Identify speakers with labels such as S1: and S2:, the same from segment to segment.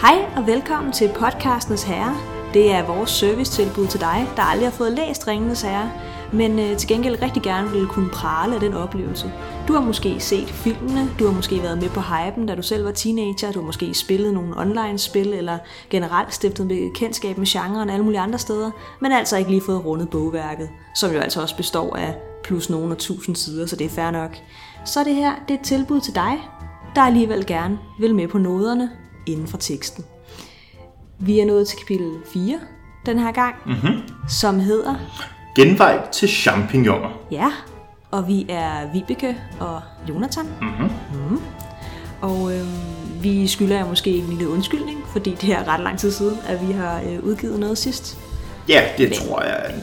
S1: Hej og velkommen til podcastens herre. Det er vores servicetilbud til dig, der aldrig har fået læst Ringenes Herre, men øh, til gengæld rigtig gerne vil kunne prale af den oplevelse. Du har måske set filmene, du har måske været med på hypen, da du selv var teenager, du har måske spillet nogle online-spil, eller generelt stiftet med kendskab med genren og alle mulige andre steder, men altså ikke lige fået rundet bogværket, som jo altså også består af plus nogen og tusind sider, så det er fair nok. Så det her, det er et tilbud til dig, der alligevel gerne vil med på noderne inden for teksten. Vi er nået til kapitel 4 den her gang, mm-hmm. som hedder
S2: Genvej til champignoner.
S1: Ja, og vi er Vibeke og Jonathan. Mm-hmm. Mm-hmm. Og øh, vi skylder jer måske en lille undskyldning, fordi det er ret lang tid siden, at vi har øh, udgivet noget sidst.
S2: Ja, det tror jeg. er en-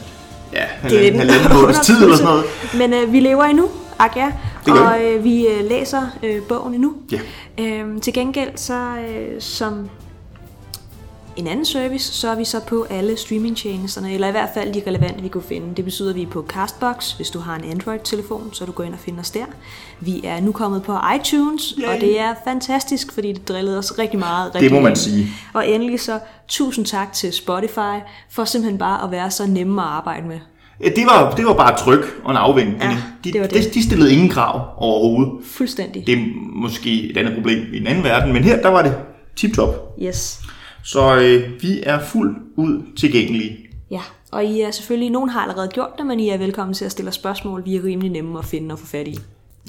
S2: Ja, halvanden, halvanden måneds tid eller sådan noget.
S1: Men øh, vi lever endnu, ak ja.
S2: Det gør
S1: og øh, vi øh, læser øh, bogen endnu.
S2: Ja.
S1: Øhm, til gengæld så øh, som en anden service, så er vi så på alle streamingtjenesterne, eller i hvert fald de relevante, vi kunne finde. Det betyder, at vi er på Castbox, hvis du har en Android-telefon, så du går ind og finder os der. Vi er nu kommet på iTunes, Yay. og det er fantastisk, fordi det drillede os rigtig meget. Rigtig
S2: må man
S1: længe.
S2: sige.
S1: Og endelig så tusind tak til Spotify for simpelthen bare at være så nemme at arbejde med.
S2: Det var, det var bare tryk og en afvending.
S1: Ja,
S2: de,
S1: det var det.
S2: De, de stillede ingen krav overhovedet.
S1: Fuldstændig.
S2: Det er måske et andet problem i den anden verden, men her der var det tip-top.
S1: Yes.
S2: Så øh, vi er fuldt ud tilgængelige.
S1: Ja, og I er selvfølgelig, nogen har allerede gjort det, men I er velkommen til at stille os spørgsmål. Vi er rimelig nemme at finde og få fat i.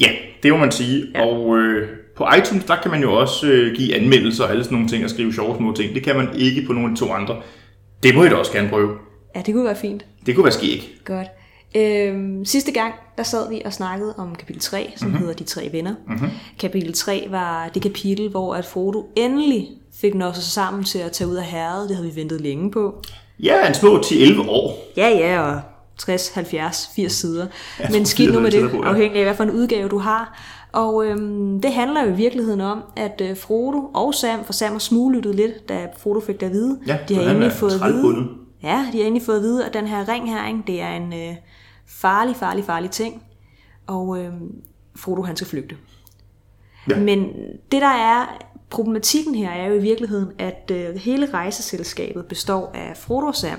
S2: Ja, det må man sige. Ja. Og øh, på iTunes, der kan man jo også øh, give anmeldelser og alle sådan nogle ting, og skrive sjove små ting. Det kan man ikke på nogle af de to andre. Det må I da også gerne prøve.
S1: Ja, det kunne være fint.
S2: Det kunne være skæg.
S1: Godt. Øhm, sidste gang, der sad vi og snakkede om kapitel 3, som mm-hmm. hedder De Tre Venner. Mm-hmm. Kapitel 3 var det kapitel, hvor at Frodo endelig fik nået sig sammen til at tage ud af herredet. Det havde vi ventet længe på.
S2: Ja, en små 10-11 år.
S1: Ja, ja, og 60, 70, 80 sider. Men
S2: tror,
S1: skidt nu med
S2: 80 er
S1: det,
S2: tættere på, ja.
S1: afhængig af, hvad for en udgave du har. Og øhm, det handler jo i virkeligheden om, at øh, Frodo og Sam, for Sam har smuglyttet lidt, da Frodo fik det at vide.
S2: Ja,
S1: de har
S2: for han
S1: egentlig
S2: er
S1: fået at vide,
S2: trælbundet.
S1: ja, de har egentlig fået at vide, at den her ring her, ikke, det er en øh, farlig, farlig, farlig ting. Og øhm, Frodo, han skal flygte.
S2: Ja.
S1: Men det der er problematikken her er jo i virkeligheden, at øh, hele rejseselskabet består af Frodo og Sam.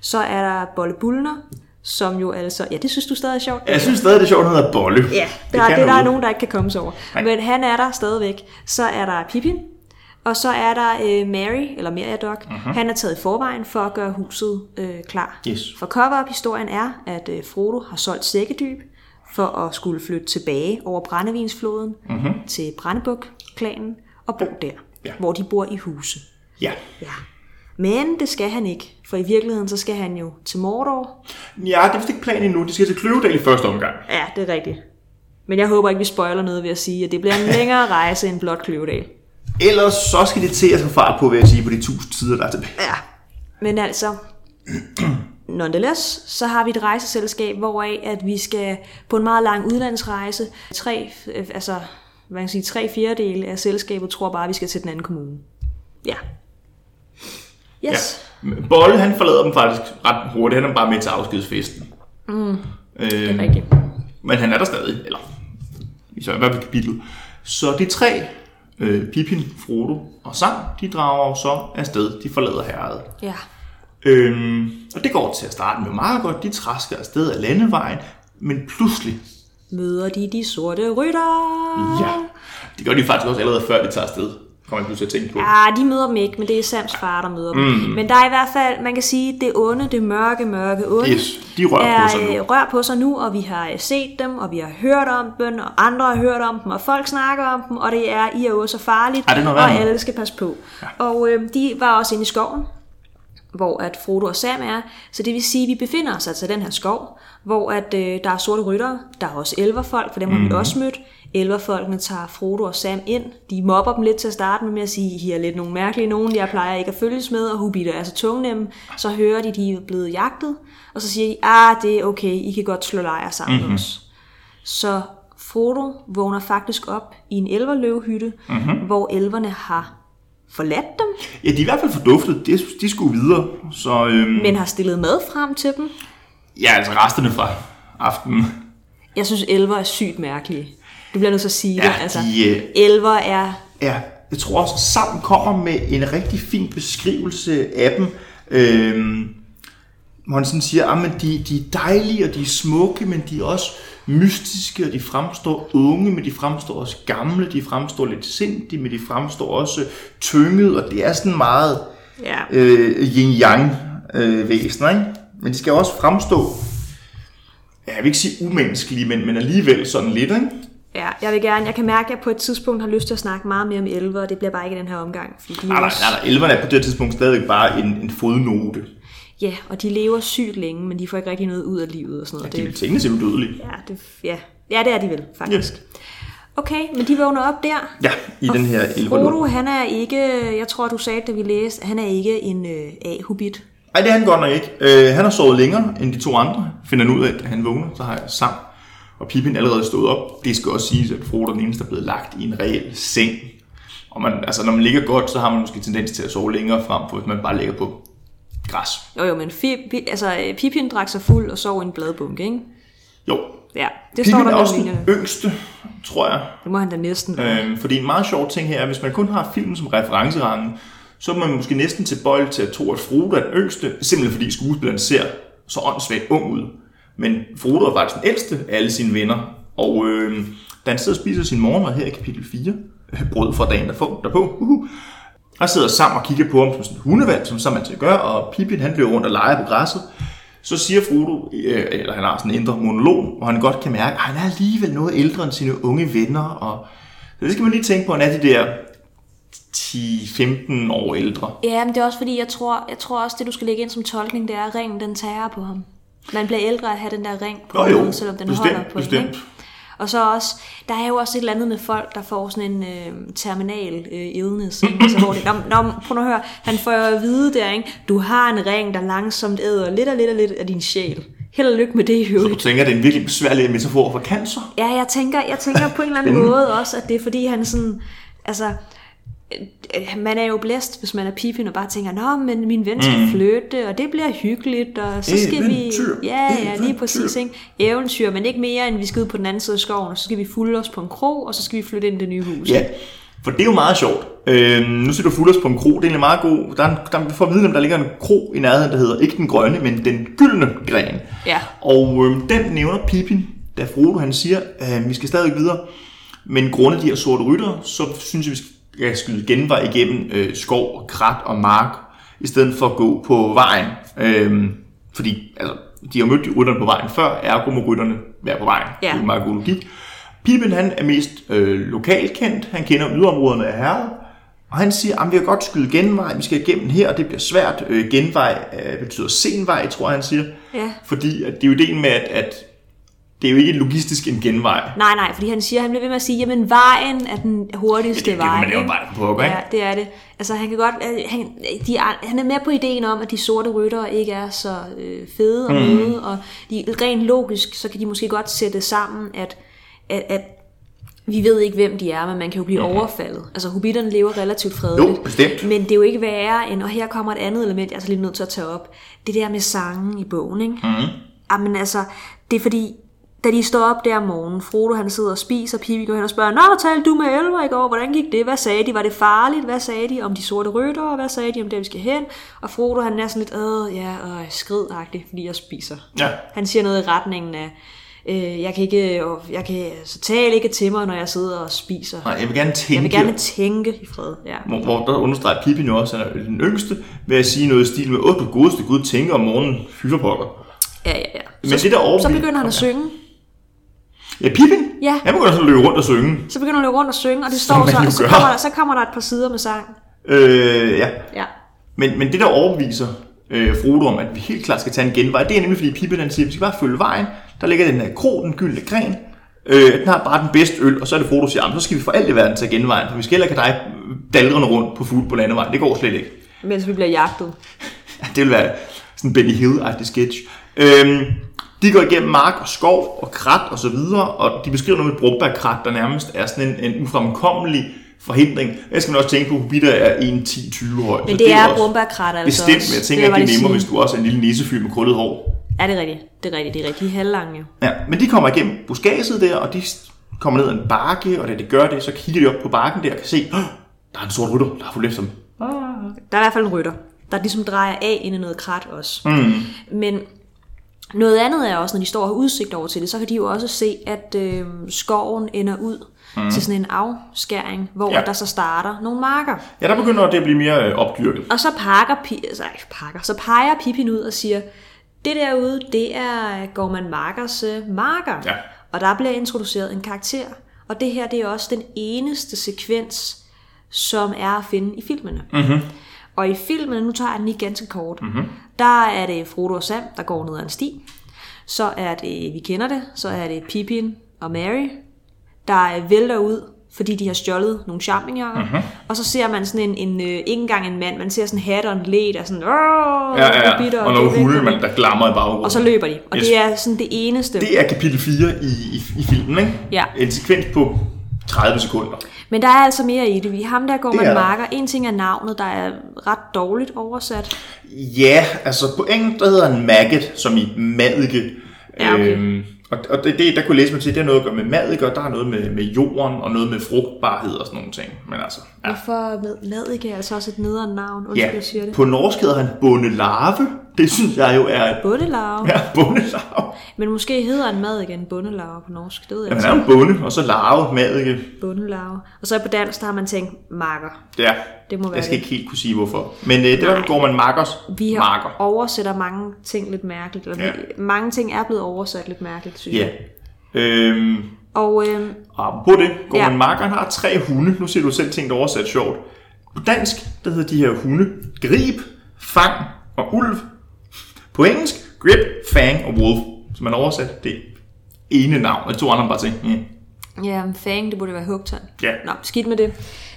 S1: Så er der Bolle Bullner, som jo altså... Ja, det synes du stadig er sjovt.
S2: Jeg synes stadig, det er sjovt, at han hedder Bolle.
S1: Ja,
S2: Det
S1: der, det
S2: kan
S1: er det, der er
S2: noget.
S1: nogen, der ikke kan komme sig over. Nej.
S2: Nej.
S1: Men han er der stadigvæk. Så er der Pippin, og så er der øh, Mary, eller Meriadoc.
S2: Mhm.
S1: Uh-huh. Han er taget i forvejen for at gøre huset øh, klar.
S2: Yes.
S1: For cover-up-historien er, at øh, Frodo har solgt sækkedyb for at skulle flytte tilbage over Brændevinsfloden uh-huh. til Brændebuk-klanen og bo der,
S2: Mhm. Ja.
S1: hvor de bor i huse.
S2: Ja.
S1: Ja. Men det skal han ikke, for i virkeligheden så skal han jo til Mordor
S2: ja, det er vist ikke planen endnu. De skal til Kløvedal i første omgang.
S1: Ja, det er rigtigt. Men jeg håber ikke, vi spoiler noget ved at sige, at det bliver en længere rejse end blot Kløvedal.
S2: Ellers så skal de til at få fart på, vil jeg sige, på de tusind sider, der er tilbage.
S1: Ja. Men altså, nonetheless, så har vi et rejseselskab, hvoraf at vi skal på en meget lang udlandsrejse. Tre, øh, altså, hvad kan jeg sige, tre fjerdedele af selskabet tror bare, at vi skal til den anden kommune. Ja. Yes.
S2: Men Bolle, han forlader dem faktisk ret hurtigt. Han er bare med til afskedsfesten. Mm.
S1: Ja.
S2: Øh,
S1: Rigtigt.
S2: men han er der stadig, eller i så i hvert fald kapitlet. Så de tre, øh, Pippin, Frodo og Sam, de drager jo så afsted. De forlader herredet.
S1: Ja.
S2: Øhm, og det går til at starte med meget godt. De træsker afsted af landevejen, men pludselig
S1: Møder de de sorte rytter?
S2: Ja, det gør de faktisk også allerede før de tager afsted, kommer jeg pludselig til at tænke på.
S1: Ah, de møder dem ikke, men det er Sams far, der møder dem. Mm. Men der er i hvert fald, man kan sige, det onde, det mørke, mørke onde,
S2: Yes, de rører
S1: er,
S2: på sig nu.
S1: øh, rør på sig nu, og vi har øh, set dem, og vi har hørt om dem, og andre har hørt om dem, og folk snakker om dem, og det er i og så farligt,
S2: Ja, det er noget
S1: og
S2: værre.
S1: alle skal passe på. Ja. Og øh, de var også inde i skoven, hvor at Frodo og Sam er, så det vil sige, at vi befinder os altså i den her skov, hvor at, øh, der er sorte ryttere, der er også elverfolk, for dem har mm. vi også mødt. Elverfolkene tager Frodo og Sam ind, de mobber dem lidt til at starte med, med at sige, I er lidt nogle mærkelige nogen, jeg plejer ikke at følges med, og Hobbiter er så tungnemme. Så hører de, de er blevet jagtet, og så siger de, ah, det er okay, I kan godt slå lejr sammen mm-hmm. også. Så Frodo vågner faktisk op i en elverløvehytte, mm-hmm. hvor elverne har forladt dem,
S2: Ja, de er i hvert fald forduftet. De, de skulle videre. Så øhm,
S1: men har stillet mad frem til dem.
S2: ja, altså resterne fra aftenen.
S1: Jeg synes, elver er sygt mærkelige. Du bliver nødt til at sige
S2: Ja,
S1: det. Altså,
S2: de, øh,
S1: Elver er...
S2: Ja, jeg tror også, sammen kommer med en rigtig fin beskrivelse af dem. Øhm, hvor han sådan siger, at de, de er dejlige, og de er smukke, men de er også mystiske, og de fremstår unge, men de fremstår også gamle, de fremstår lidt sindige, men de fremstår også tynget, og det er sådan meget
S1: Ja.
S2: øh, yin-yang øh, væsener, ikke? Men de skal også fremstå, ja, jeg vil ikke sige umenneskelige, men, men alligevel sådan lidt, ikke?
S1: ja, jeg vil gerne. Jeg kan mærke, at jeg på et tidspunkt har lyst til at snakke meget mere om elver, og det bliver bare ikke i den her omgang. Fordi de
S2: Nej, nej,
S1: også-
S2: nej, nej. Elverne er på det her tidspunkt stadigvæk bare en, en fodnote.
S1: Ja, og de lever sygt længe, men de får ikke rigtig noget ud af livet og sådan noget.
S2: De er vel teknisk set udødelige.
S1: Ja, det, ja. ja, det er de vel, faktisk.
S2: Ja.
S1: Okay, men de vågner op der.
S2: Ja, i
S1: Og
S2: den her elverlund.
S1: Frodo, han er ikke, jeg tror, du sagde, da vi læste, han er ikke en øh, A-hobbit.
S2: Nej, det er han godt nok ikke. Øh, han har sovet længere end de to andre. Finder han ud af, at han vågner, så har jeg Sam og Pippin allerede stået op. Det skal også siges, at Frodo er den eneste, der er blevet lagt i en reel seng. Og man, altså, når man ligger godt, så har man måske tendens til at sove længere frem, for hvis man bare ligger på græs.
S1: Jo, jo, men fi, pi, altså, øh, Pippin drak sig fuld og sov i en bladbunke, ikke?
S2: Jo,
S1: Ja, det står
S2: Pippin
S1: der
S2: er også
S1: mellem
S2: den
S1: linjerne.
S2: yngste, tror jeg.
S1: Det må han da næsten være.
S2: Øh, fordi en meget sjov ting her er, at hvis man kun har filmen som referenceramme, så er man måske næsten tilbøjelig til at tro, at Frodo er den yngste, simpelthen fordi skuespilleren ser så åndssvagt ung ud. Men Frodo er faktisk den ældste af alle sine venner, og øh, da han sidder og spiser sin morgenmad her i kapitel 4, brød fra dagen derpå, derpå uhu, og sidder sammen og kigger på ham som sådan en hundevalg, som så man til at gøre, og Pippin han løber rundt og leger på græsset. Så siger Frodo, øh, eller han har sådan en indre monolog, hvor han godt kan mærke, at han er alligevel noget ældre end sine unge venner, og så det skal man lige tænke på, han er de der 10-15 år ældre.
S1: Ja, men det er også fordi, jeg tror, jeg tror også, det du skal lægge ind som tolkning, det er, at ringen den tager på ham. Man bliver ældre af at have den der ring på
S2: Nå jo,
S1: hovedet, selvom den
S2: bestemt,
S1: holder på
S2: bestemt.
S1: En, ikke? Og så også, der er jo også et eller andet med folk, der får sådan en øh, terminal øh, illness, ikke? altså, hvor det, nå, nå, prøv nu at høre, han får jo at vide der, ikke? du har en ring, der langsomt æder lidt og lidt og lidt af din sjæl. Held og lykke med det, jo.
S2: Du tænker, det er en virkelig besværlig metafor for cancer?
S1: Ja, jeg tænker, jeg tænker på en eller anden måde også, at det er fordi han sådan, altså, øh, man er jo blæst, hvis man er pipin og bare tænker, nå, men min ven skal mm. flytte, og det bliver hyggeligt, og så skal vi...
S2: Eventyr.
S1: Ja, ja, lige
S2: Eventyr.
S1: præcis, ikke? Eventyr, men ikke mere, end vi skal ud på den anden side af skoven, og så skal vi fulde os på en krog, og så skal vi flytte ind i det nye hus.
S2: Ja, for det er jo meget sjovt. Øhm, nu ser du fulders på en kro, det er egentlig meget god. Der er en, der, vi får at vide, om der ligger en kro i nærheden, der hedder ikke den grønne, men den gyldne gren.
S1: Ja.
S2: Og øhm, den nævner Pippin, da Frodo han siger, øh, vi skal stadig videre. Men grundet de her sorte rytter, så synes jeg, vi skal skyde genvej igennem øh, skov, og krat og mark, i stedet for at gå på vejen. Øhm, fordi altså, de har mødt de rytterne på vejen før, ergo må rytterne være på vejen.
S1: Ja.
S2: Det er jo meget god logik. Pippen han er mest øh, lokalkendt, han kender yderområderne af herret, og han siger, at vi kan godt skyde genvej, vi skal igennem her, og det bliver svært. Øh, genvej øh, betyder sen vej, tror jeg, han siger.
S1: Ja.
S2: Fordi at det er jo ideen med, at, at det er jo ikke logistisk en genvej.
S1: Nej, nej, fordi han siger, han bliver ved med at sige, jamen vejen er den hurtigste
S2: det er jo,
S1: vej.
S2: man laver
S1: ikke?
S2: vejen for pokker, ikke?
S1: Ja, det er det. Altså han kan godt, øh, han, de er, han er med på ideen om, at de sorte ryttere ikke er så øh, fede
S2: Mm.
S1: og møde, og de, rent logisk, så kan de måske godt sætte sammen, at, at, at vi ved ikke, hvem de er, men man kan jo blive overfaldet. Altså, hobitterne lever relativt fredeligt.
S2: Mm-hmm. Jo, bestemt.
S1: Men det er jo ikke værre end, og her kommer et andet element, jeg er så lige nødt til at tage op. Det der med sangen i bogen, ikke? Mm. Jamen altså, det er fordi, da de står op der om morgenen, Frodo han sidder og spiser, Pippi går hen og spørger, Nå, talte du med Elver i går, hvordan gik det, hvad sagde de, var det farligt, hvad sagde de om de sorte ryttere, hvad sagde de om det, vi skal hen? Og Frodo han er sådan lidt, øh, ja, øh, skridagtig, fordi jeg spiser.
S2: Ja.
S1: Han siger noget i retningen af, øh, jeg kan ikke, og jeg kan, så tal ikke til mig, når jeg sidder og spiser.
S2: Nej, jeg vil gerne tænke.
S1: Jeg vil gerne tænke i fred, ja.
S2: hvor, hvor der understreger Pippin jo også, at han er den yngste, ved at sige noget i stil med, åh du godeste gud, tænker om morgenen, fyre pokker.
S1: Ja, ja, ja.
S2: Men det der
S1: Så
S2: overbevist...
S1: begynder han at synge.
S2: Ja, Pippin?
S1: Ja.
S2: Han begynder sådan at løbe rundt og synge.
S1: Så begynder han at løbe rundt og synge, og det
S2: Som
S1: står
S2: man
S1: så,
S2: jo
S1: så
S2: gør.
S1: kommer, der, så kommer der et par sider med sang.
S2: Øh, ja.
S1: Ja.
S2: Men, men det der overbeviser øh, Frodo om, at vi helt klart skal tage en genvej, det er nemlig fordi Pippin han siger, at vi skal bare følge vejen, der ligger den her kro, den gyldne gren, øh, den har bare den bedste øl, og så er det Frodo der siger, "Jamen, så skal vi for alt i verden tage genvejen, for vi skal heller ikke have dig dalrende rundt på fuld på landevejen, det går slet ikke.
S1: Mens vi bliver jagtet.
S2: Ja, det vil være sådan en Benny Hill-agtig sketch. Øhm, de går igennem mark og skov og krat og så videre, og de beskriver noget med et brumbærkrat, der nærmest er sådan en, en ufremkommelig forhindring. Jeg skal man også tænke på, at hobitter er 1-10-20 høj.
S1: Men det er brumbærkrat altså
S2: Bestemt,
S1: også.
S2: men jeg tænker,
S1: Det
S2: at
S1: var
S2: det er
S1: det
S2: nemmere,
S1: sige.
S2: hvis du også er en lille nissefyr med krullet hår.
S1: Ja, det er rigtigt. Det er rigtigt. Det er rigtigt. De er halvlange jo.
S2: Ja, men de kommer igennem buskadset der, og de kommer ned ad en bakke, og da de gør det, så kigger de op på bakken der og kan se, "Åh, Der er en sort rytter, der har forlæst ham.
S1: Der er i hvert fald en rytter, der ligesom drejer af ind i noget krat også. Mm. Men noget andet er også, når de står og har udsigt over til det, så kan de jo også se, at øh, skoven ender ud mm. til sådan en afskæring, hvor
S2: Ja.
S1: ja. der så starter nogle marker.
S2: Ja, der begynder det at blive mere øh, opdyrket.
S1: Og så pakker, pi- altså, ej, pakker, så peger Pippin ud og siger, det derude, det er Gorman Markers øh, marker.
S2: Ja.
S1: Og der bliver introduceret en karakter. Og det her, det er også den eneste sekvens, som er at finde i filmene. Mm-hmm. Og i filmen, nu tager jeg den lige ganske kort,
S2: Mhm.
S1: mm-hmm. der er det Frodo og Sam, der går ned ad en sti. Så er det, vi kender det, så er det Pippin og Mary, der øh, vælter ud, fordi de har stjålet nogle champignoner. Mm-hmm.
S2: Mhm.
S1: Og så ser man sådan en, en øh, ikke engang en mand, man ser sådan hat og en led, og sådan, åh,
S2: Ja, ja,
S1: bitter,
S2: ja. Og
S1: det er
S2: nogle
S1: væk."
S2: hunde, man, der glammer i baggrunden.
S1: Og så løber de. Og
S2: Yes.
S1: det er sådan det eneste.
S2: Det er kapitel 4 i, i, i filmen, ikke?
S1: Ja.
S2: En sekvens på 30 sekunder.
S1: Men der er altså mere i det. Vi ham der går
S2: Det er
S1: man
S2: der.
S1: marker. En ting er navnet, der er ret dårligt oversat.
S2: Ja, altså på engelsk der hedder en maggot, som i madike.
S1: Ja, okay.
S2: øhm, og og det, det, der kunne jeg læse mig til, det har noget at gøre med madike, og der er noget med, med jorden, og noget med frugtbarhed og sådan nogle ting. Men altså,
S1: Ja.
S2: ja.
S1: Hvorfor med Madike er altså også et nederen navn? Undskyld,
S2: ja.
S1: jeg siger det.
S2: På norsk hedder han bondelarve. Det synes jeg jo er et
S1: Bundelarve. Ja.
S2: ja, bondelarve.
S1: Men måske hedder en mad igen bundelarve på norsk. Det ved jeg
S2: Jamen,
S1: ikke.
S2: han er jo en bonde, og så larve, madike.
S1: Bundelarve. Og så på dansk, der har man tænkt marker.
S2: Ja.
S1: Det må være
S2: jeg skal
S1: det.
S2: ikke helt kunne sige, hvorfor. Men øh, det der går man markers.
S1: Vi har
S2: marker.
S1: oversætter mange ting lidt mærkeligt. Eller
S2: Ja.
S1: ja. vi, mange ting er blevet oversat lidt mærkeligt, synes
S2: Ja.
S1: jeg.
S2: Øhm,
S1: Og øh,
S2: Og på det, Gorman ja.
S1: Ja.
S2: Markeren har tre hunde. Nu siger du selv ting, der er oversat sjovt. På dansk, der hedder de her hunde grib, fang og ulv. På engelsk, grip, fang og wolf. Så man har oversat det ene navn, og de to andre har bare tænkt, mm.
S1: ja, fang, det burde være hugtand.
S2: Ja.
S1: Nå, skidt med det.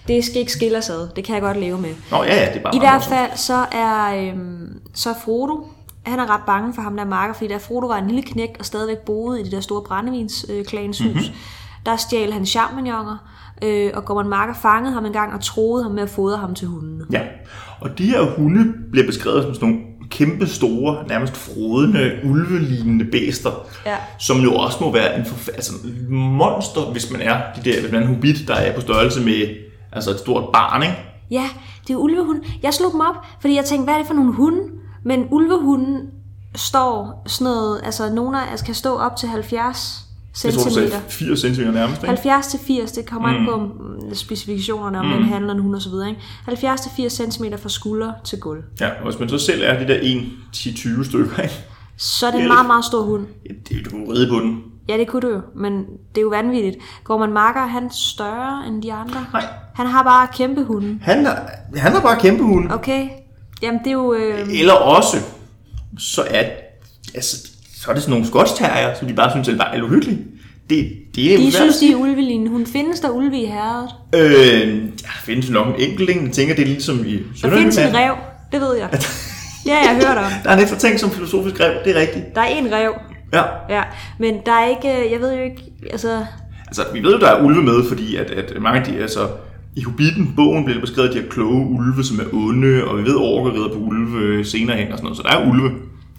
S1: Det skal ikke skille os ad. Det kan jeg godt leve med.
S2: Nå ja, ja, det er bare
S1: I
S2: meget
S1: hvert
S2: morsomt.
S1: fald så er, øhm, så er Frodo, han er ret bange for ham der marker, fordi da Frodo var en lille knægt og stadigvæk boede i det der store brændevinsklans øh,
S2: Mhm.
S1: hus, mm-hmm. der stjal han charmignoner, øh, og Gorman Marker fangede ham en gang og troede ham med at fodre ham til hundene.
S2: Ja, og de her hunde bliver beskrevet som sådan nogle kæmpe store, nærmest frodende, ulvelignende bæster,
S1: Ja.
S2: som jo også må være en forf- altså, et monster, hvis man er de der, hvis man er en hobbit, der er på størrelse med altså et stort barn, ikke?
S1: Ja, det er ulvehunde. Jeg slog dem op, fordi jeg tænkte, hvad er det for nogle hunde? Men ulvehunden står sådan noget, altså nogle af altså kan stå op til 70
S2: Jeg tror, du
S1: cm.
S2: sagde 80 cm nærmest, ikke?
S1: 70 til 80, det kommer mm. an på mm, specifikationerne, om mm. den handler en hund og så videre. Ikke? 70 til 80 cm fra skulder til gulv.
S2: Ja, og hvis man så selv er de der 1-10-20 stykker, ikke?
S1: Så er det
S2: Elf.
S1: en meget, meget stor hund.
S2: Ja, det, du kan jo ride på den.
S1: Ja, det kunne du jo, men det er jo vanvittigt. Går man marker, er han større end de andre?
S2: Nej.
S1: Han har bare kæmpe hunde.
S2: Han er, han er bare kæmpe hunde.
S1: Okay, jamen det er jo... Øh,
S2: Eller også, så er, altså, så er det sådan nogle skotsterrier, som de bare synes er dejligt uhyggelige. Det, det er
S1: de
S2: jo
S1: synes, de er ulvelignende. Hun findes der ulve i herredet.
S2: Øh, der findes nok en enkelt, ikke? Jeg tænker, det er ligesom i
S1: Der findes en
S2: Sønderjylland.
S1: rev, det ved jeg. Ja, jeg har hørt om.
S2: Der er en eftertænkt som filosofisk rev, det er rigtigt.
S1: Der er en rev,
S2: Ja.
S1: ja. Men der er ikke, øh, jeg ved jo ikke, altså,
S2: Altså, vi ved jo, der er ulve med, fordi at, at mange af de, altså, i Hobbiten, bogen bliver det beskrevet, at de her kloge ulve, som er onde, og vi ved, orker rider på ulve senere hen og sådan noget. Så der er ulve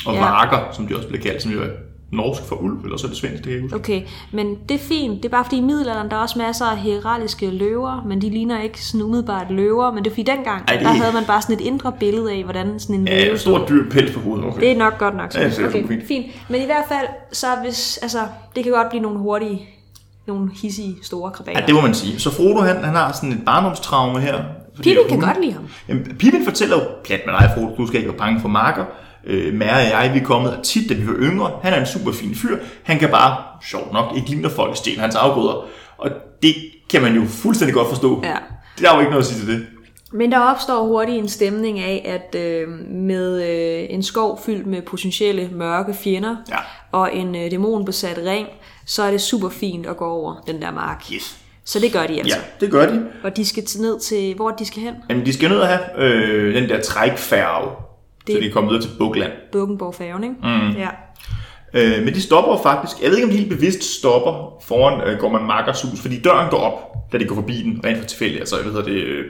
S2: og ja.
S1: Ja.
S2: varker, som de også bliver kaldt, som jo er norsk for ulv, eller så er det svensk, det kan jeg ikke huske.
S1: Okay, men det er fint. Det er bare fordi i middelalderen, der er også masser af heraldiske løver, men de ligner ikke sådan umiddelbart løver. Men det er fordi dengang,
S2: Ej,
S1: Ej,
S2: det-
S1: det... der havde man bare sådan et indre billede af, hvordan sådan en løve
S2: Ja,
S1: ja,
S2: et stort dyr pels på hovedet, okay.
S1: Det er nok godt nok.
S2: Ja, det er
S1: okay,
S2: fint.
S1: fint. fint. Men i hvert fald, så hvis, altså, det kan godt blive nogle hurtige, nogle hissige, store krabater.
S2: Ja, det må man sige. Så Frodo, han, han har sådan et barndomstraume her. fordi
S1: Pippin kan
S2: hun-
S1: godt lide ham.
S2: Jamen, Pippin fortæller jo, pjat med dig, Frodo, du skal ikke være bange for marker. Øh, Mære og jeg, vi er kommet her tit, da vi var yngre. Han er en super fin fyr. Han kan bare, sjovt nok, ikke lide, når folk stjæler hans afgrøder. Og det kan man jo fuldstændig godt forstå.
S1: Ja.
S2: Der er jo ikke noget at sige til det.
S1: Men der opstår hurtigt en stemning af, at øh, med øh, en skov fyldt med potentielle mørke fjender
S2: Ja.
S1: og en øh, dæmonbesat ring, så er det super fint at gå over den der mark.
S2: Yes.
S1: Så det gør de altså.
S2: Ja, det gør de.
S1: Og de skal t- ned til, hvor de skal hen?
S2: Jamen, de skal ned og have øh, den der trækfærge, det... så
S1: Det-
S2: de kan komme videre til Bukland.
S1: Bukkenborg færgen, ikke? Mm. Ja.
S2: Øh, men de stopper jo faktisk. Jeg ved ikke, om de helt bevidst stopper foran øh, Gorman Markers hus, fordi døren går op, da de går forbi den, rent for tilfælde. Altså, hvad hedder det, øh,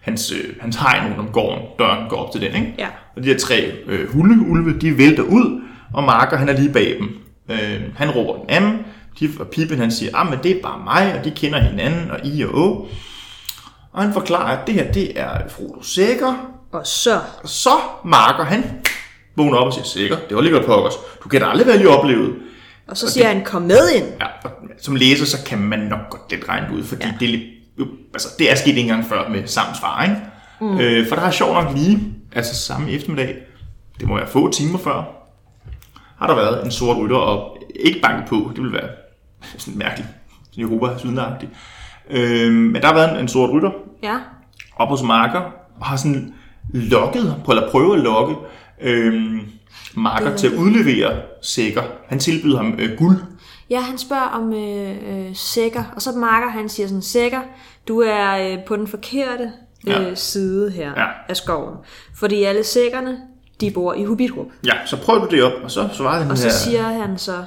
S2: hans, øh, hans hegn rundt om gården, døren går op til den, ikke?
S1: Ja.
S2: Og de her tre øh, hundeulve, de vælter ud, og Marker, han er lige bag dem. Øh, han råber den anden, de, og Pippen, han siger, ah, men det er bare mig, og de kender hinanden, og I og Å. Og han forklarer, at det her, det er Frodo Sækker.
S1: Og så,
S2: Og så marker han vågner op og siger, Sækker, det var lige pokkers. Du kan da aldrig være lige oplevet.
S1: og så siger han, kom med ind.
S2: Ja, og som læser, så kan man nok godt lidt regne det ud, fordi ja. det, er lidt, jo, altså, det er sket en gang før med Sams far, ikke? Mm. Øh, for der har sjovt nok lige, altså samme eftermiddag, det må være få timer før, har der været en sort rytter og ikke banket på, det vil være sådan mærkeligt, sådan Europa sydlandagtigt. Øh, men der har været en, en sort rytter
S1: Ja.
S2: op hos Marker, og har sådan lokket, ham på, eller prøvet at lokke øh, Marker til at udlevere Sækker. Han tilbyder ham øh, guld
S1: Ja, han spørger om øh, øh, sækker, og så marker han siger sådan, sækker, du er øh, på den forkerte øh,
S2: Ja.
S1: side her
S2: Ja.
S1: af skoven. Fordi alle sækkerne, de bor i Hubitrup.
S2: Ja, så prøv du det op, og så svarede han
S1: Og så
S2: her.
S1: siger han så,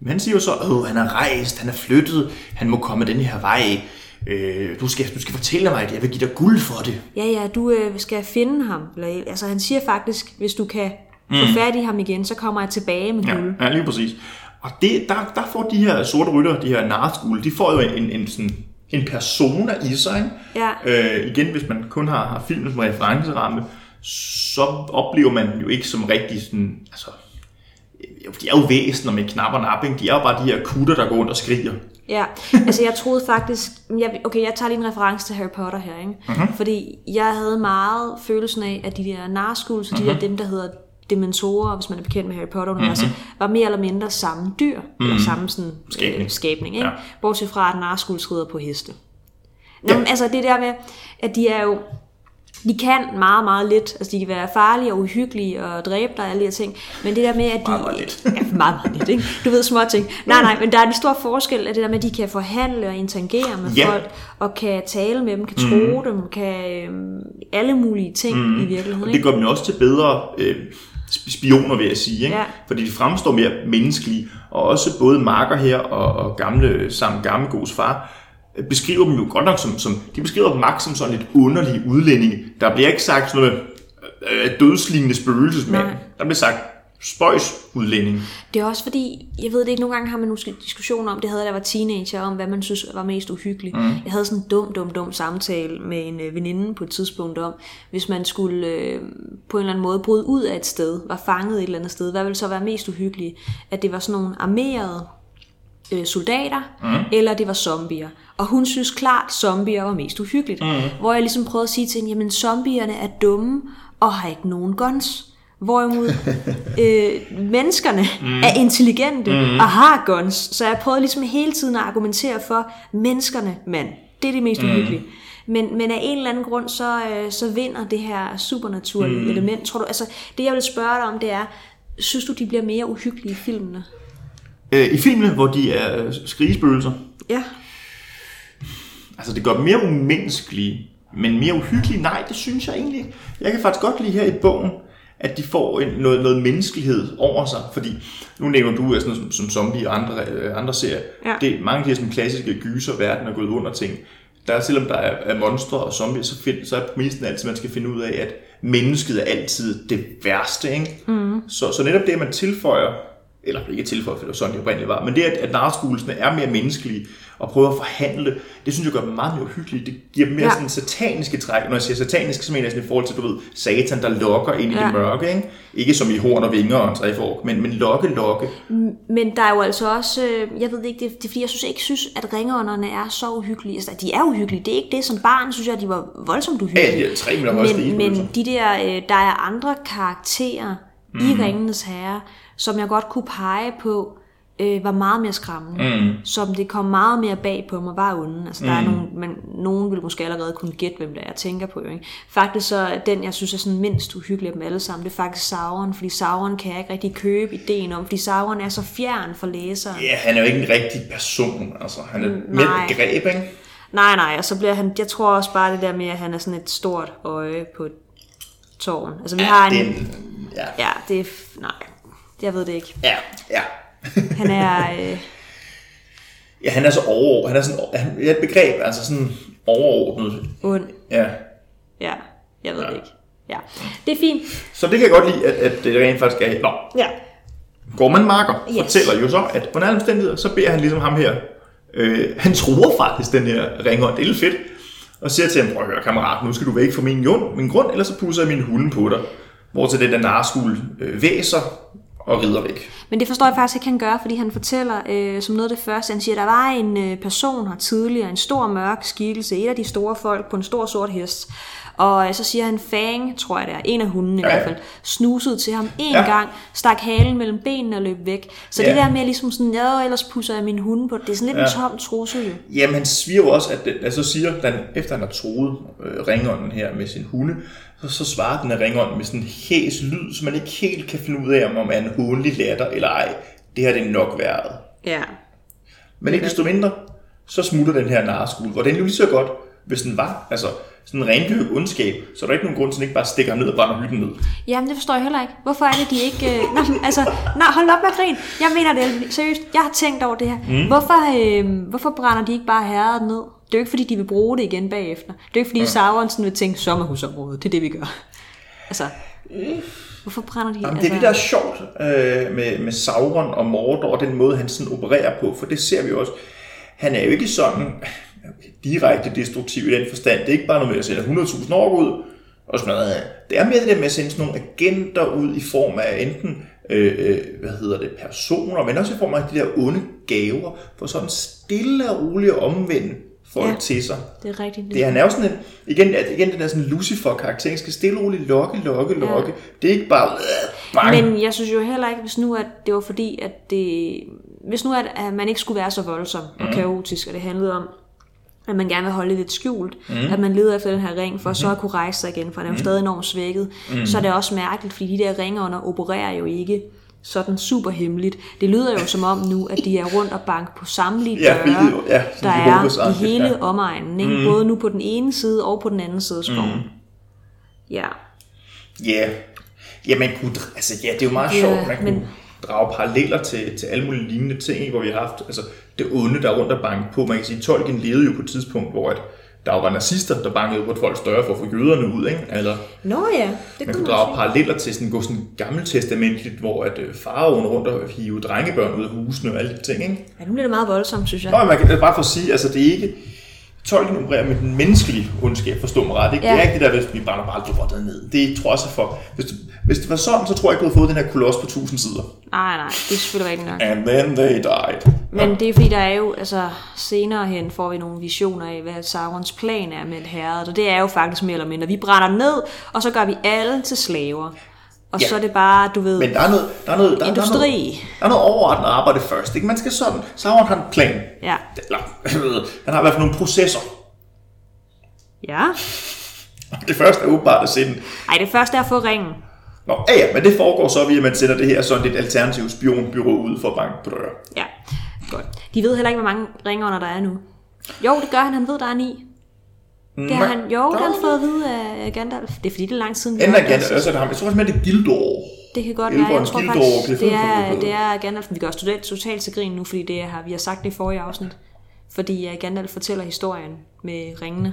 S2: Men han siger jo så, åh, han er rejst, han er flyttet, han må komme den her vej. Øh, du, skal, du skal fortælle mig det, jeg vil give dig guld for det.
S1: ja ja, du øh, skal finde ham. Eller, altså han siger faktisk, hvis du kan få fat i ham igen, så kommer jeg tilbage med guld.
S2: Mm. Ja, ja lige præcis. Og det, der, der får de her sorte rytter, de her narskuld, de får jo en, en, en, sådan, en persona i sig. Ikke?
S1: Ja.
S2: Øh, igen, hvis man kun har, har filmen som referenceramme, så oplever man jo ikke som rigtig sådan, altså, øh, de er jo væsener med knap og nap, ikke? de er jo bare de her kutter, der går rundt og skriger.
S1: Ja, altså jeg troede faktisk, jeg, okay, jeg tager lige en reference til Harry Potter her, ikke?
S2: Mhm.
S1: Mm-hmm. fordi jeg havde meget følelsen af, at de der narskuld, så de
S2: Mhm.
S1: mm-hmm. der dem, der hedder dementorer, hvis man er bekendt med Harry Potter universet, mm-hmm. var mere eller mindre samme dyr, mm-hmm. eller samme sådan,
S2: Mhm. Skabning.
S1: Øh, skabning ikke?
S2: Ja.
S1: Ja. bortset fra, at narskuld skrider på heste. Nå, men altså det der med, at de er jo, de kan meget, meget lidt. Altså, de kan være farlige og uhyggelige og dræbe dig og alle de her ting. Men det der med, at de...
S2: Meget, meget lidt.
S1: ja, meget, meget lidt, ikke? Du ved små ting. Nej, nej, men der er en stor forskel af det der med, at de kan forhandle og interagere med
S2: Ja. Mhm.
S1: folk, og kan tale med dem, kan tro dem, kan øhm, alle mulige ting i virkeligheden,
S2: Og det
S1: ikke?
S2: gør dem jo også til bedre øh, sp- spioner, vil jeg sige. Ikke?
S1: Ja.
S2: Fordi de fremstår mere menneskelige, og også både Marker her og, og gamle, sammen Gammegos far, øh, beskriver dem jo godt nok som, som de beskriver dem Max som sådan lidt underlige udlændinge. Der bliver ikke sagt sådan noget øh, øh, dødslignende spøgelsesmand.
S1: Nej.
S2: Der bliver sagt spøjs udlænding.
S1: Det er også fordi, jeg ved det ikke, nogle gange har man nogle diskussioner om, det havde jeg, da jeg var teenager, om hvad man synes var mest uhyggeligt.
S2: Mhm.
S1: Mm. Jeg havde sådan en dum, dum, dum samtale med en øh, veninde på et tidspunkt om, hvis man skulle øh, på en eller anden måde bryde ud af et sted, var fanget et eller andet sted, hvad ville så være mest uhyggeligt? At det var sådan nogle armerede øh, soldater, mm. eller det var zombier. Og hun synes klart, zombier var mest uhyggeligt. Mm. Hvor jeg ligesom prøvede at sige til hende, jamen zombierne er dumme og har ikke nogen guns. Hvorimod øh, menneskerne mm. er intelligente mm. og har guns. Så jeg prøvede ligesom hele tiden at argumentere for, menneskerne, mand, det er det mest uhyggelige. Men, men af en eller anden grund, så, øh, så vinder det her supernaturlige mm. element. Tror du, altså, det jeg vil spørge dig om, det er, synes du, de bliver mere uhyggelige i filmene?
S2: Øh, I filmene, hvor de er øh, skrigespøgelser,
S1: Ja.
S2: Altså, det gør dem mere umenneskelige, men mere uhyggelige, nej, det synes jeg egentlig ikke. Jeg kan faktisk godt lide her i bogen, at de får en, noget, noget menneskelighed over sig, fordi nu nævner du øh, sådan noget som, som zombie og andre, øh, andre serier.
S1: Ja.
S2: Det, mange af de her sådan, klassiske gyser, verden er gået under ting. Der, selvom der er, er monstre og zombier, så, find, så er præmissen altid, at man skal finde ud af, at mennesket er altid det værste. Ikke? Mm. Så, så netop det, at man tilføjer eller ikke tilføjet, for det var sådan, de oprindeligt var, men det, at, at narreskuelsene er mere menneskelige og prøver at forhandle, det synes jeg gør dem meget mere uhyggelige. Det giver dem mere ja.
S1: Ja.
S2: sådan sataniske træk. Når jeg siger satanisk, så mener jeg sådan i forhold til, du ved, satan, der lokker ind i ja.
S1: Ja.
S2: det mørke, ikke? Ikke som i horn og vinger og en træfork, men, men lokke, lokke.
S1: Men der er jo altså også, øh, jeg ved ikke, det, det er fordi, jeg synes ikke synes, at ringånderne er så uhyggelige. Altså, de er uhyggelige, det er ikke det. Som barn synes jeg, de var voldsomt
S2: Ja, de
S1: uhyggelige.
S2: er tre minutter også lige
S1: men, men de der, øh, der er andre karakterer mm.
S2: Mhm.
S1: i Ringenes Herre, som jeg godt kunne pege på, øh, var meget mere skræmmende.
S2: Mhm.
S1: Mm. Som det kom meget mere bag på mig, var onde. Altså, der mm. er nogen, man, nogen ville måske allerede kunne gætte, hvem det er, jeg tænker på. jo, Ikke? Faktisk så er den, jeg synes er sådan mindst uhyggelig af dem alle sammen, det er faktisk Sauron, fordi Sauron kan jeg ikke rigtig købe ideen om, fordi Sauron er så fjern for læseren.
S2: Ja, han er jo ikke en rigtig person, altså. Han er mere
S1: nej.
S2: et greb, ikke?
S1: Nej, nej, og så bliver han, jeg tror også bare det der med, at han er sådan et stort øje på tårn. Altså vi har en,
S2: Det er en, ja,
S1: Ja, det er... f- Nej, jeg ved det ikke.
S2: ja, ja.
S1: Han er... Øh,
S2: ja han er så over, han er sådan, han er et begreb, altså sådan overordnet.
S1: ond.
S2: Ja,
S1: Ja, jeg ved det ikke. Ja, det er fint.
S2: Så det kan jeg godt lide, at, at det rent faktisk er... Nå,
S1: Ja.
S2: Gorman Marker yes.
S1: Yes.
S2: fortæller jo så, at på alle omstændigheder, så beder han ligesom ham her. Øh, han tror faktisk den her ringånd. Det er lidt fedt. og siger til ham, prøv at høre kammerat, nu skal du væk fra min, jund, min grund, ellers så pusser jeg min hunde på dig. Hvor til den der narskul øh, væser og rider væk.
S1: Men det forstår jeg faktisk ikke, han gør, fordi han fortæller øh, som noget af det første, han siger, der var en øh, person her tidligere, en stor mørk skikkelse, et af de store folk på en stor sort hest. Og øh, så siger han, Fang, tror jeg det er, en af hundene ja. i
S2: Ja.
S1: hvert fald, snusede til ham en ja.
S2: Ja.
S1: gang, stak halen mellem benene og løb væk. Så ja. det
S2: Ja.
S1: der med ligesom sådan, ja, ellers pusser jeg min hunde på, det er sådan lidt ja. en tom trussel jo.
S2: Jamen, han sviger jo også, at den, altså siger, den, efter han har troet øh, ringånden her med sin hunde, så, så svarer den her ringånd med sådan en hæs lyd, som man ikke helt kan finde ud af, om man er en håndelig latter eller ej. Det her det er nok været.
S1: Ja.
S2: Men ikke desto mindre, så smutter den her narskul, og den er jo lige så godt, hvis den var, altså sådan en rendyrket ondskab, så er der ikke nogen grund til, at den ikke bare stikker ham ned og brænder hytten ned.
S1: Jamen, det forstår jeg heller ikke. Hvorfor er det, de ikke... Øh, nå, men altså, nej, hold op med at grine. Jeg mener det, alvorligt. seriøst. Jeg har tænkt over det her. Mm. Hvorfor, øh, hvorfor brænder de ikke bare herret ned? Det er jo ikke, fordi de vil bruge det igen bagefter. Det er jo ikke, fordi mm. Sauronsen vil tænke sommerhusområdet. Det er det, vi gør. Altså, hvorfor brænder de...
S2: Jamen, det
S1: altså,
S2: er det, der er sjovt øh, med, med Sauron og Mordor, og den måde, han sådan opererer på, for det ser vi jo også. Han er jo ikke sådan direkte destruktiv i den forstand. Det er ikke bare noget med at sende 100.000 år ud og sådan noget. Det er mere det der med at sende sådan nogle agenter ud i form af enten, øh, øh, hvad hedder det, personer, men også i form af de der onde gaver, for sådan stille og roligt at omvende folk
S1: Ja.
S2: ja. til sig.
S1: Det er rigtigt.
S2: Det, han er jo sådan en, igen, at- igen den der sådan Lucifer-karakter, han skal stille og roligt lokke, lokke, lokke. Det er ikke bare, øh, bang.
S1: Men jeg synes jo heller ikke, hvis nu at det var fordi, at det, hvis nu at, at man ikke skulle være så voldsom og
S2: Mm.
S1: kaotisk, og det handlede om, at man gerne vil holde det lidt skjult, mm. at man leder efter den her ring, for mm.
S2: Mm-hmm.
S1: så at kunne rejse sig igen, for den er jo stadig enormt svækket, mm. så er det også mærkeligt, fordi de der ringånder opererer jo ikke sådan super hemmeligt. Det lyder jo som om nu, at de er rundt og banker på samtlige
S2: Ja,
S1: døre,
S2: hvilket jo- ja, sådan
S1: der
S2: de håber
S1: er i
S2: sig,
S1: hele
S2: ja. Mm.
S1: omegnen, ikke? både nu på den ene side og på den anden side af skoven. Mm. Ja.
S2: Ja, ja man kunne, altså ja, det er jo meget
S1: Ja,
S2: ja, sjovt, man
S1: men-
S2: kunne drage paralleller til, til alle mulige lignende ting, ikke, hvor vi har haft altså, det onde, der er rundt og banke på. Man kan sige, Tolkien levede jo på et tidspunkt, hvor at der jo var nazister, der bankede på et folk større for at få jøderne ud. Ikke? Eller
S1: Nå ja, det kunne
S2: man kunne
S1: man sige.
S2: drage paralleller til sådan, gå sådan gammeltestamentligt, hvor at øh, faraoen rundt og hive drengebørn ud af husene og alle de ting. Ikke?
S1: Ja, nu bliver det meget voldsomt, synes jeg.
S2: Nå, men man kan, bare for at sige, altså det er ikke... Tolkien opererer med den menneskelige ondskab, forstå mig ret. Ikke?
S1: Ja.
S2: Ja. Det er ikke det der, hvis vi brænder bare lortet ned. Det tror jeg så for. Hvis det, hvis det var sådan, så tror jeg ikke, du havde fået den her koloss på 1000 sider.
S1: Nej, nej, det er selvfølgelig rigtigt nok.
S2: And then they died.
S1: Men det er fordi, der er jo, altså senere hen får vi nogle visioner af, hvad Saurons plan er med herret, og det er jo faktisk mere eller mindre, vi brænder ned, og så gør vi alle til slaver. Og ja.
S2: Ja.
S1: så er det bare, du ved,
S2: Men der er noget, der er noget, der, Der er
S1: Industri.
S2: noget, der er noget overordnet arbejde først. Ikke? Man skal sådan. Sauron har en plan.
S1: ja,
S2: Eller, han har i hvert fald nogle processer.
S1: ja.
S2: Det første er åbenbart at sende
S1: Ej, det første er at få ringen.
S2: Nå, ja, ja, men det foregår så ved, at man sender det her sådan et alternativt spionbyrå ud for at banke på døre.
S1: Ja, godt. De ved heller ikke, hvor mange ringånder der er nu. Jo, det gør han, han ved, der er ni. Det har han, jo, det har han fået at vide af Gandalf. Det er fordi, det er lang tid siden. vi
S2: Enten
S1: har
S2: er Gandalf,
S1: Gandalf.
S2: eller så er det ham. Jeg tror faktisk, at det er Gildor.
S1: Det kan godt være, jeg
S2: Elverens
S1: tror
S2: Gildor
S1: faktisk,
S2: blev
S1: det er,
S2: fuldstændig
S1: det er Gandalf, vi gør student totalt til grin nu, fordi det har, vi har sagt det i forrige afsnit. Fordi øh, Gandalf fortæller historien med ringene.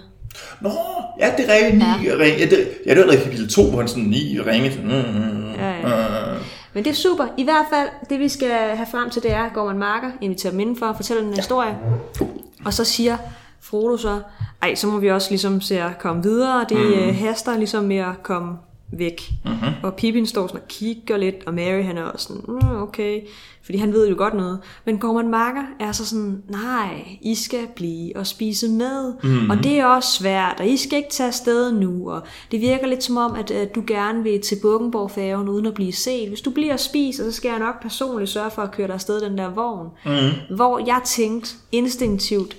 S2: Nå, ja, det er rigtigt. Ni ja. ringe. Ja, det, ja, det var noget kapitel 2, hvor han sådan ni ringe. Sådan, mm, mm,
S1: Ja, ja.
S2: mm.
S1: Men det er super. I hvert fald, det vi skal have frem til, det er, går man marker, inviterer dem indenfor, fortæller den ja. historie. Og så siger Frodo så, ej, så må vi også ligesom se at komme videre. Det mm. haster ligesom med at komme væk. Mm-hmm. Og Pippin står sådan og kigger lidt, og Mary han er også sådan, mm, okay, fordi han ved jo godt noget. Men Gorman Marker er så sådan, nej, I skal blive og spise med, mm-hmm. og det er også svært, og I skal ikke tage afsted nu, og det virker lidt som om, at, at du gerne vil til Bukkenborg-færgen uden at blive set. Hvis du bliver og spiser, så skal jeg nok personligt sørge for at køre dig afsted i den der vogn. Mm-hmm. Hvor jeg tænkte instinktivt,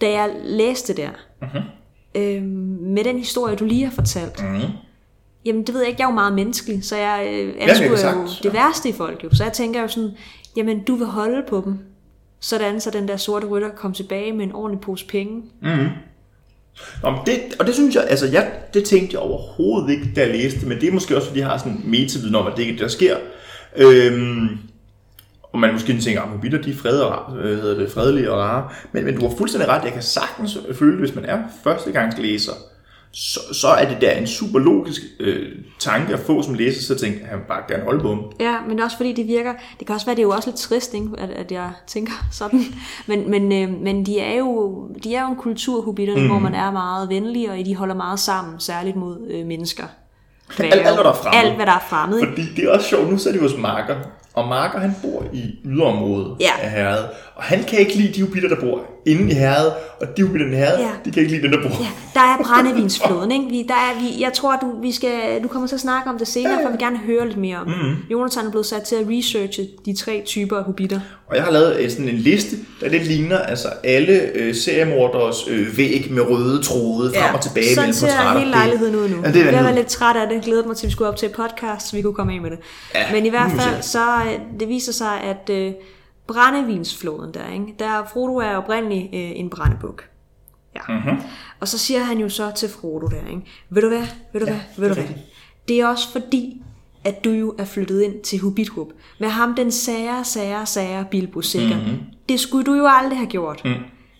S1: da jeg læste det der, øhm, med den historie, du lige har fortalt,
S2: Mhm.
S1: jamen det ved jeg ikke, jeg er jo meget menneskelig, så jeg øh,
S2: det
S1: anskuer ja, jo
S2: sagtens,
S1: det værste i folk jo. Så jeg tænker jo sådan, jamen du vil holde på dem, sådan så den der sorte rytter kom tilbage med en ordentlig pose penge.
S2: Nå, men det, og det synes jeg, altså jeg, det tænkte jeg overhovedet ikke, da jeg læste det, men det er måske også, fordi jeg har sådan en metaviden om, at det ikke er det, der sker. Øhm, og man måske tænker, at mobiler de er fred og, rar- øh, hedder det, fredelige og rare, men, men du har fuldstændig ret, jeg kan sagtens føle, hvis man er førstegangslæser, så, så er det der en super logisk øh, tanke at få som læser, så tænker jeg, at han vil bare gerne holde på dem.
S1: Ja, men også fordi det virker, det kan også være, det er jo også lidt trist, ikke? At, at jeg tænker sådan, men, men, øh, men de er jo, de er jo en kultur, hobitterne, mm. hvor
S2: Mhm.
S1: man er meget venlig, og de holder meget sammen, særligt mod øh, mennesker.
S2: Alt, alt, hvad der er fremmed.
S1: Alt, hvad der er fremmed. ikke?
S2: Fordi det er også sjovt, nu sidder de hos Marker, og Marker han bor i yderområdet
S1: Ja.
S2: af Herred, og han kan ikke lide de hobitter, der bor inde i Herred, og de hobitter i Herred,
S1: Ja.
S2: de kan ikke lide dem, der bor.
S1: Ja, der er brændevinsflåden, ikke? Vi, der er, vi, jeg tror, du, vi skal, du kommer til at snakke om det senere, for jeg vil gerne høre lidt mere om det.
S2: Mm-hmm.
S1: Mm. Jonathan er blevet sat til at researche de tre typer af hobitter.
S2: Og jeg har lavet øh, sådan en liste, der lidt ligner altså alle øh, seriemorders øh, væg med røde tråde frem og tilbage
S1: Sådan
S2: mellem
S1: ser
S2: portrætter.
S1: hele lejligheden ud nu.
S2: Ja, det er
S1: jeg var
S2: vanvittigt.
S1: lidt træt af det. Glædede mig til, at vi skulle op til et podcast, så vi kunne komme af med det.
S2: Ja,
S1: Men i hvert
S2: nu må vi
S1: fald, så øh, det viser sig, at øh, brændevinsfloden der, ikke? der Frodo er oprindeligt øh, en brændebuk. Ja.
S2: Mhm.
S1: Mm-hmm. Og så siger han jo så til Frodo der, ikke? ved du hvad, ved du ja, hvad, ved du
S2: det er
S1: hvad. Det er også fordi, at du jo er flyttet ind til Hubithub. Med ham den sære, sære, sære Bilbo sikker.
S2: Mhm.
S1: Mm-hmm. Det skulle du jo aldrig have gjort. Mm.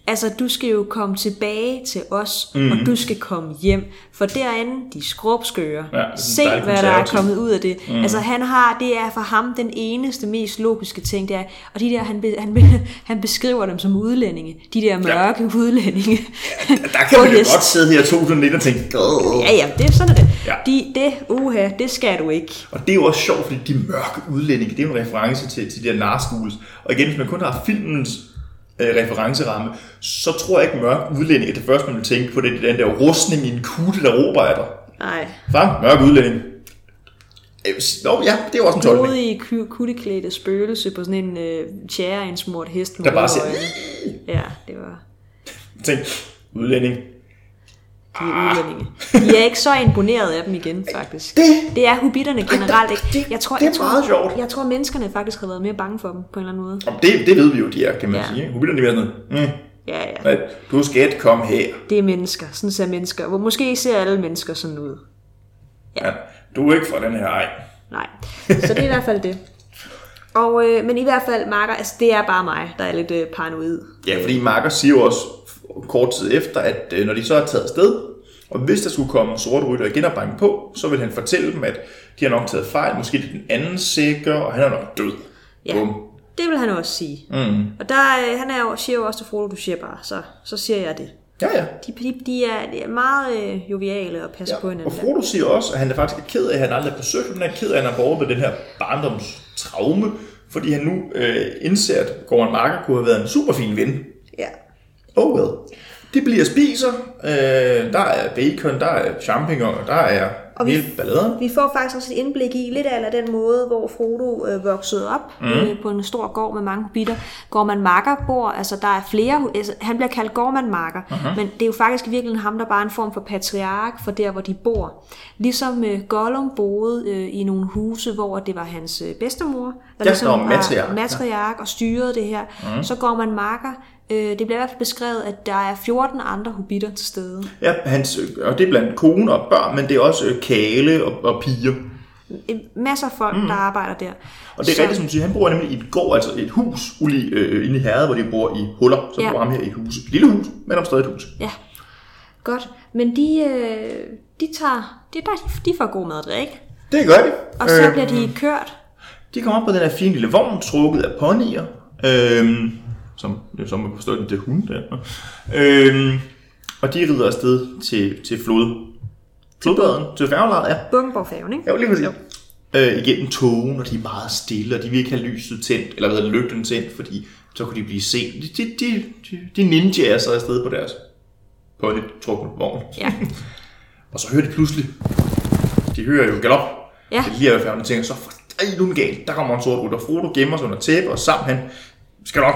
S1: Altså, du skal jo komme tilbage til os, mm-hmm.
S2: Mhm.
S1: og du skal komme hjem. For derinde, de skrubskører.
S2: Ja, det er
S1: Se,
S2: dejligt
S1: hvad der er
S2: konservativt.
S1: kommet ud af det. Mm. Altså, han har, det er for ham den eneste, mest logiske ting, det er, og de der, han, be- han, be- han beskriver dem som udlændinge. De der mørke ja. udlændinge.
S2: Der kan
S1: På
S2: man jo
S1: hest.
S2: godt sidde her i 2019 og tænke, "Grrr."
S1: Ja, ja, det er sådan er det.
S2: Ja.
S1: De, det, uha, det skal du ikke.
S2: Og det er jo også sjovt, fordi de mørke udlændinge, det er jo en reference til, til de der narschools. Og igen, hvis man kun har filmens øh, referenceramme, så tror jeg ikke mørke udlændinge, at det første, man vil tænke på, det er den der rustning i en kutte, der råber af dig.
S1: Nej.
S2: Far, mørk udlænding. Øh, s- Nå, ja, det er jo også en tolkning.
S1: Blodig ku- kutteklædte spøgelse på sådan en øh, tjære, en smurt hest. med
S2: Der bare
S1: røde
S2: siger,
S1: øjne. Ja, det var...
S2: tænk, udlænding.
S1: De er udlændinge. De er ikke så imponeret af dem igen, faktisk.
S2: Ah. Det-
S1: det er hobitterne generelt ikke.
S2: det-
S1: jeg tror,
S2: det er
S1: jeg tror,
S2: meget sjovt.
S1: Jeg tror, menneskerne faktisk har været mere bange for dem, på en eller anden måde.
S2: Om det, det ved vi jo, de er, kan man
S1: Ja.
S2: ja. sige. Hobbiterne er sådan noget, mm,
S1: Ja, ja.
S2: nej, du skal kom her.
S1: Det er mennesker. Sådan ser mennesker. Hvor måske ser alle mennesker sådan ud.
S2: Ja. Du er ikke fra den her ej.
S1: Nej. Så det er i hvert fald det. Og, øh, men i hvert fald, Marker, altså det er bare mig, der er lidt øh, paranoid.
S2: Ja, fordi Marker siger jo også f- kort tid efter, at øh, når de så er taget afsted, og hvis der skulle komme sorte rytter igen og banke på, så vil han fortælle dem, at de har nok taget fejl, måske det er den anden sikker, og han er nok død.
S1: Ja.
S2: Bum.
S1: Det vil han også sige.
S2: Mm.
S1: Og der, øh, han er jo, siger jo også til Frodo, du siger bare, så, så siger jeg det.
S2: Ja, ja.
S1: De, de, de, er, de er meget øh, joviale og passer ja, på
S2: Og
S1: hinanden. der.
S2: Frodo siger også, at han er faktisk ked af, at han aldrig har besøgt, men han er ked af, at han har borget med den her barndomstraume, fordi han nu øh, indser, at Gordon Marker kunne have været en super fin ven.
S1: Ja.
S2: Oh well. De bliver spiser. Øh, der er bacon, der er champignoner, der er
S1: Og
S2: og
S1: vi-
S2: hele balladen.
S1: Vi får faktisk også et indblik i lidt af den måde, hvor Frodo øh, voksede op mm. øh, på en stor gård med mange bitter. Gorman Marker bor, altså der er flere, altså, han bliver kaldt Gorman Marker,
S2: Mhm.
S1: uh-huh. men det er jo faktisk virkelig ham, der bare er en form for patriark for der, hvor de bor. Ligesom øh, Gollum boede øh, i nogle huse, hvor det var hans øh, bedstemor, der ligesom
S2: Ja, der var matriark, ja.
S1: matriark og styrede det her. Mm. Så Gorman Marker, øh, det bliver i hvert fald beskrevet, at der er 14 andre hobitter til stede.
S2: Ja, hans, og det er blandt kone og børn, men det er også øh, kale og, og piger.
S1: Øh, Masser af folk, mm. der arbejder der.
S2: Og det er
S1: Så-
S2: rigtigt, som du siger, han bor nemlig i et gård, altså et hus ulig, øh, inde i Herred, hvor de bor i huller. Så
S1: Ja.
S2: ja. bor ham her i et hus. Et lille hus, men om stadig et hus.
S1: Ja, godt. Men de, øh, de tager, de, der- de får god mad og drik,
S2: Det gør de.
S1: og så øh, bliver de kørt.
S2: De kommer op på den her fine lille vogn, trukket af ponyer, øhm, som, som man kan forstå, det er hunde der. Øhm, og de rider afsted til, til flod. Flodbaden, til færgelejet, ja.
S1: Bungeborgfærgen, ikke?
S2: Ja, lige præcis. Øh, igennem togen, og de er meget stille, og de vil ikke have lyset tændt, eller hvad hedder det, lygten tændt, fordi så kunne de blive set. De, de, de, de, de ninjaer sig afsted på deres pony-trukne vogn.
S1: Ja.
S2: Og så hører de pludselig, de hører jo galop.
S1: Ja.
S2: Det er lige færgen, og tænker, så for- ej, nu er den galt. Der kommer en sort rytter. Frodo gemmer sig under tæppe, og sammen han skal nok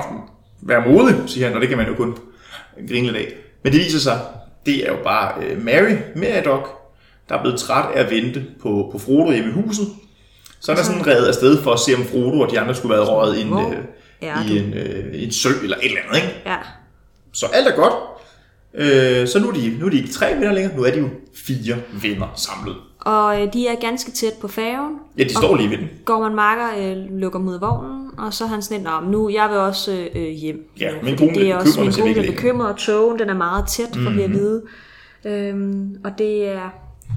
S2: være modig, siger han, og det kan man jo kun grine lidt af. Men det viser sig, det er jo bare øh, Mary, Meridoc, der er blevet træt af at vente på, på Frodo hjemme i huset. Så er der sådan reddet afsted for at se, om Frodo og de andre skulle være røget i en,
S1: Hvor
S2: øh,
S1: er
S2: i en, øh, en sø eller et eller andet, ikke?
S1: Ja.
S2: Så alt er godt. Øh, så nu er, de, nu er de ikke tre venner længere, nu er de jo fire venner samlet.
S1: Og øh, de er ganske tæt på færgen.
S2: Ja, de står lige ved den.
S1: Gorman Marker øh, lukker mod vognen, og så er han sådan lidt, "Nå, men nu, jeg vil også øh, øh, hjem.
S2: Ja,
S1: nu,
S2: min
S1: fordi
S2: kone
S1: det er
S2: bliver
S1: også
S2: bekymret,
S1: min
S2: hvis jeg
S1: kone
S2: ikke Mhm.
S1: bliver
S2: lægger."
S1: bekymret, og togen den er meget tæt, for mm-hmm. vi at vide. Øhm, og det er,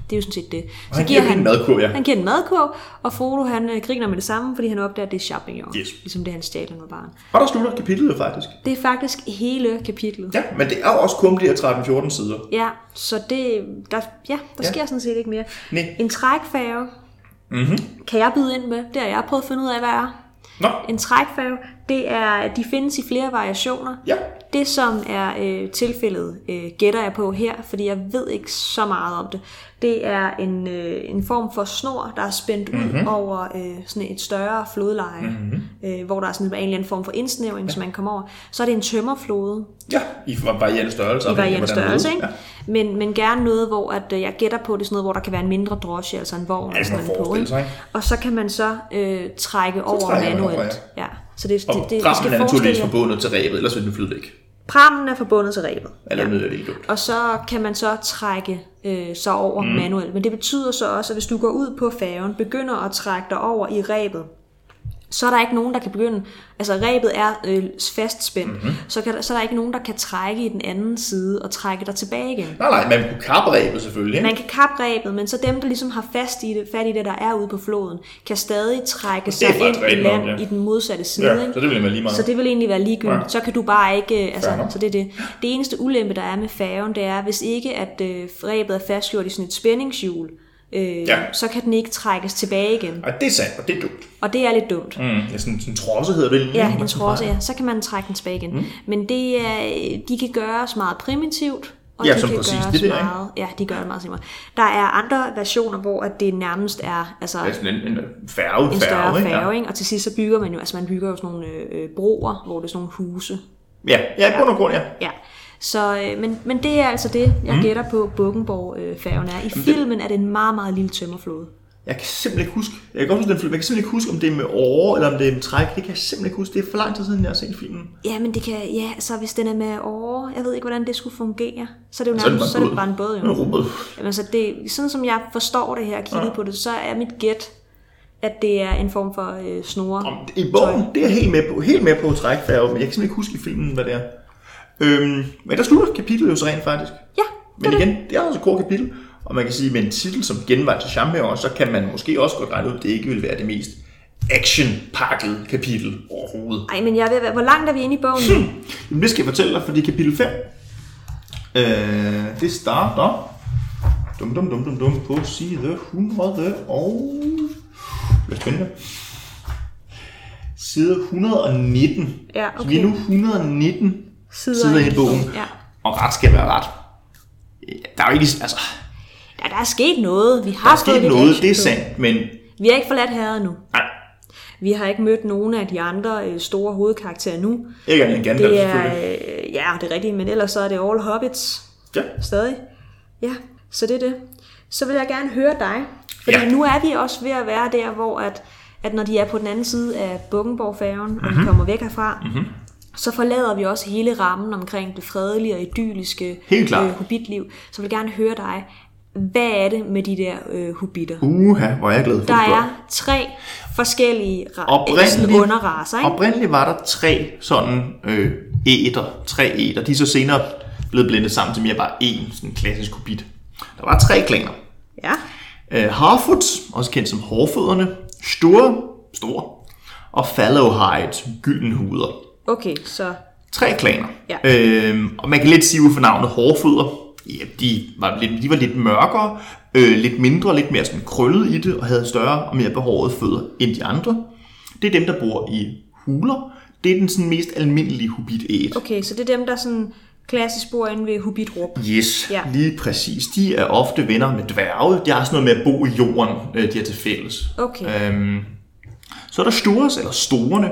S1: det er jo sådan set det.
S2: Og han giver han, en madkurv, ja.
S1: han giver den madkurv, og Frodo han øh, griner med det samme, fordi han opdager, at det er champignon.
S2: Yes.
S1: Ligesom det, han stjal, da han var barn.
S2: Og der slutter kapitlet jo faktisk.
S1: Det er faktisk hele kapitlet.
S2: Ja, men det er jo også kun de her 13-14 sider.
S1: Ja, så det, der, ja, der
S2: Ja.
S1: ja. sker sådan set ikke mere.
S2: Nej.
S1: En trækfærge mm-hmm. kan jeg byde ind med. Det har jeg prøvet at finde ud af, hvad er.
S2: Nå,
S1: En trækfærge, det er, de findes i flere variationer.
S2: ja.
S1: Det, som er øh, tilfældet, øh, gætter jeg på her, fordi jeg ved ikke så meget om det. Det er en, øh, en form for snor, der er spændt mm-hmm. ud over øh, sådan et større flodleje, mm-hmm. øh, hvor der er sådan en eller anden form for indsnævring, ja. som man kommer over. Så er det en tømmerflode,
S2: Ja, i varierende størrelse.
S1: i varierende
S2: afhængig af, hvordan det
S1: størrelse,
S2: er.
S1: ikke?
S2: Ja.
S1: Men, men gerne noget, hvor at, øh, jeg gætter på, det er sådan noget, hvor der kan være en mindre drosje, altså en vogn.
S2: Ja, det kan man
S1: sådan noget
S2: forestille sig, ikke?
S1: Og så kan man så øh, trække over
S2: trækker man over,
S1: manuelt. ja. Så det,
S2: Og
S1: det, det, vi
S2: rammen
S1: skal
S2: er naturligvis
S1: forestille,
S2: forbundet til rebet, ellers vil den flyde væk.
S1: prammen er forbundet til rebet.
S2: Eller noget af det ikke dumt.
S1: Og så kan man så trække øh, sig over mm. manuelt. Men det betyder så også, at hvis du går ud på færgen, begynder at trække dig over i rebet, så er der ikke nogen, der kan begynde... Altså, rebet er øh, fastspændt.
S2: Mhm.
S1: Mm-hmm. Så, kan, der- så er der ikke nogen, der kan trække i den anden side og trække dig tilbage igen.
S2: Nej, nej, man kunne kappe rebet selvfølgelig. Ikke?
S1: Man kan kappe rebet, men så dem, der ligesom har fast i det, fat i det, der er ude på floden, kan stadig trække sig
S2: faktisk
S1: ind i
S2: rigtigt nok,
S1: land
S2: ja.
S1: i den modsatte side.
S2: Ja,
S1: ikke?
S2: så det ville være lige meget.
S1: Så det vil egentlig være ligegyldigt.
S2: Ja.
S1: Ja. Så kan du bare ikke... øh, Altså,
S2: Fair nok.
S1: så det er det. Det eneste ulempe, der er med færgen, det er, hvis ikke at øh, rebet er fastgjort i sådan et spændingshjul, øh,
S2: Ja.
S1: ja. så kan den ikke trækkes tilbage igen.
S2: Ej, det er sandt, og det er dumt.
S1: Og det er lidt dumt.
S2: Mm, ja, sådan, sådan en trosse hedder det.
S1: Ja,
S2: Man
S1: en
S2: kan
S1: trods,
S2: bare-
S1: ja. Så kan man trække den tilbage igen. Mm. Men det er, de kan gøres meget primitivt, og
S2: Ja,
S1: de
S2: som
S1: kan
S2: præcis
S1: gøres
S2: det der, ikke?
S1: meget... Ja, de gør det meget simpelthen. Der er andre versioner, hvor at det nærmest er altså,
S2: Ja, sådan en, en færge,
S1: en
S2: færge,
S1: større
S2: ikke?
S1: færge, ikke? og til sidst så bygger man jo, altså man bygger jo sådan nogle øh, øh, broer, hvor det er sådan nogle huse.
S2: Ja, ja, i bund og grund, ja.
S1: Ja. Så, øh, men, men det er altså det, jeg mm. gætter på, Bukkenborg-færgen er. I filmen er det en meget, meget lille tømmerflåde.
S2: Jeg kan simpelthen ikke huske, jeg kan godt huske den film, men jeg kan simpelthen ikke huske, om det er med åre, eller om det er med træk. Det kan jeg simpelthen ikke huske. Det er for lang tid siden, jeg har set filmen.
S1: Ja, men det kan, ja, så hvis den er med over, jeg ved ikke, hvordan det skulle fungere, så er det jo
S2: Så er det
S1: nærmest, så er det bare en båd,
S2: Den
S1: jo.
S2: er rummet.
S1: Jamen, så det, sådan som jeg forstår det her og kigget ja. på det, så er mit gæt, at det er en form for øh, snore.
S2: Om- I bogen, det er jeg helt med på, helt med på trækfærge, men jeg kan simpelthen ikke huske i filmen, hvad det er. Øhm, men der slutter kapitlet jo så rent faktisk.
S1: Ja, det
S2: Men
S1: er det.
S2: igen, det er også et kort kapitel, og man kan sige, med en titel som genvej til champignon, så kan man måske også godt regne ud, at det ikke vil være det mest action-pakket kapitel overhovedet.
S1: Ej, men jeg er ved at være, hvor langt er vi inde i bogen nu?
S2: Hmm. Jamen, det skal jeg fortælle dig, fordi kapitel 5, øh, det starter dum, dum, dum, dum, dum, på side 100 og... Hvad spændende. Side 119.
S1: Ja,
S2: Så vi er
S1: okay.
S2: nu 119
S1: Sider
S2: sider
S1: inde
S2: i bogen.
S1: Ja.
S2: Og ret skal være ret. Der er jo ikke, altså,
S1: Der, der er sket noget. Vi har
S2: der er
S1: fået
S2: sket
S1: lidt
S2: noget,
S1: action
S2: det
S1: på.
S2: er sandt, men
S1: Vi har ikke forladt herret endnu.
S2: nej,
S1: Vi har ikke mødt nogen af de andre øh, store hovedkarakterer nu.
S2: ikke andet end Gandalf
S1: Det er,
S2: selvfølgelig.
S1: øh, ja, det er rigtigt, men ellers så er det All Hobbits
S2: Ja.
S1: stadig. Ja, så det er det. Så vil jeg gerne høre dig, fordi
S2: Ja.
S1: ja. nu er vi også ved at være der, hvor at, at når de er på den anden side af Bukkenborg-færgen, og
S2: Mhm.
S1: de kommer væk herfra, mm-hmm. så forlader vi også hele rammen omkring det fredelige og idylliske øh,
S2: Helt klart.
S1: hobbitliv. Så vil jeg gerne høre dig, hvad er det med de der øh, hobitter?
S2: Uha, hvor Uh, er jeg glad for,
S1: Der
S2: du spørger.
S1: er tre forskellige ra- eller sådan
S2: Oprindeligt,
S1: underraser, ikke?
S2: oprindeligt var der tre sådan øh, æter, tre æter. De er så senere blevet blandet sammen til mere bare én, sådan en klassisk kubit. Der var tre klaner.
S1: Ja.
S2: Øh, Harfoots, også kendt som hårfødderne, store, store, og Fallowhide, gylden huder.
S1: Okay, så
S2: Tre klaner.
S1: Ja.
S2: Øhm, og man kan lidt sige ud for navnet hårfødder. Ja, de var lidt, de var lidt mørkere, øh, lidt mindre, lidt mere sådan krøllet i det, og havde større og mere behårede fødder end de andre. Det er dem, der bor i huler. Det er den sådan mest almindelige hobbit
S1: okay, så det er dem, der sådan klassisk bor inde ved Hobbitrup.
S2: Yes,
S1: Ja.
S2: lige præcis. De er ofte venner med dværge. De har sådan noget med at bo i jorden, øh, de er til fælles.
S1: Okay.
S2: Øhm, så er der stores, eller storene.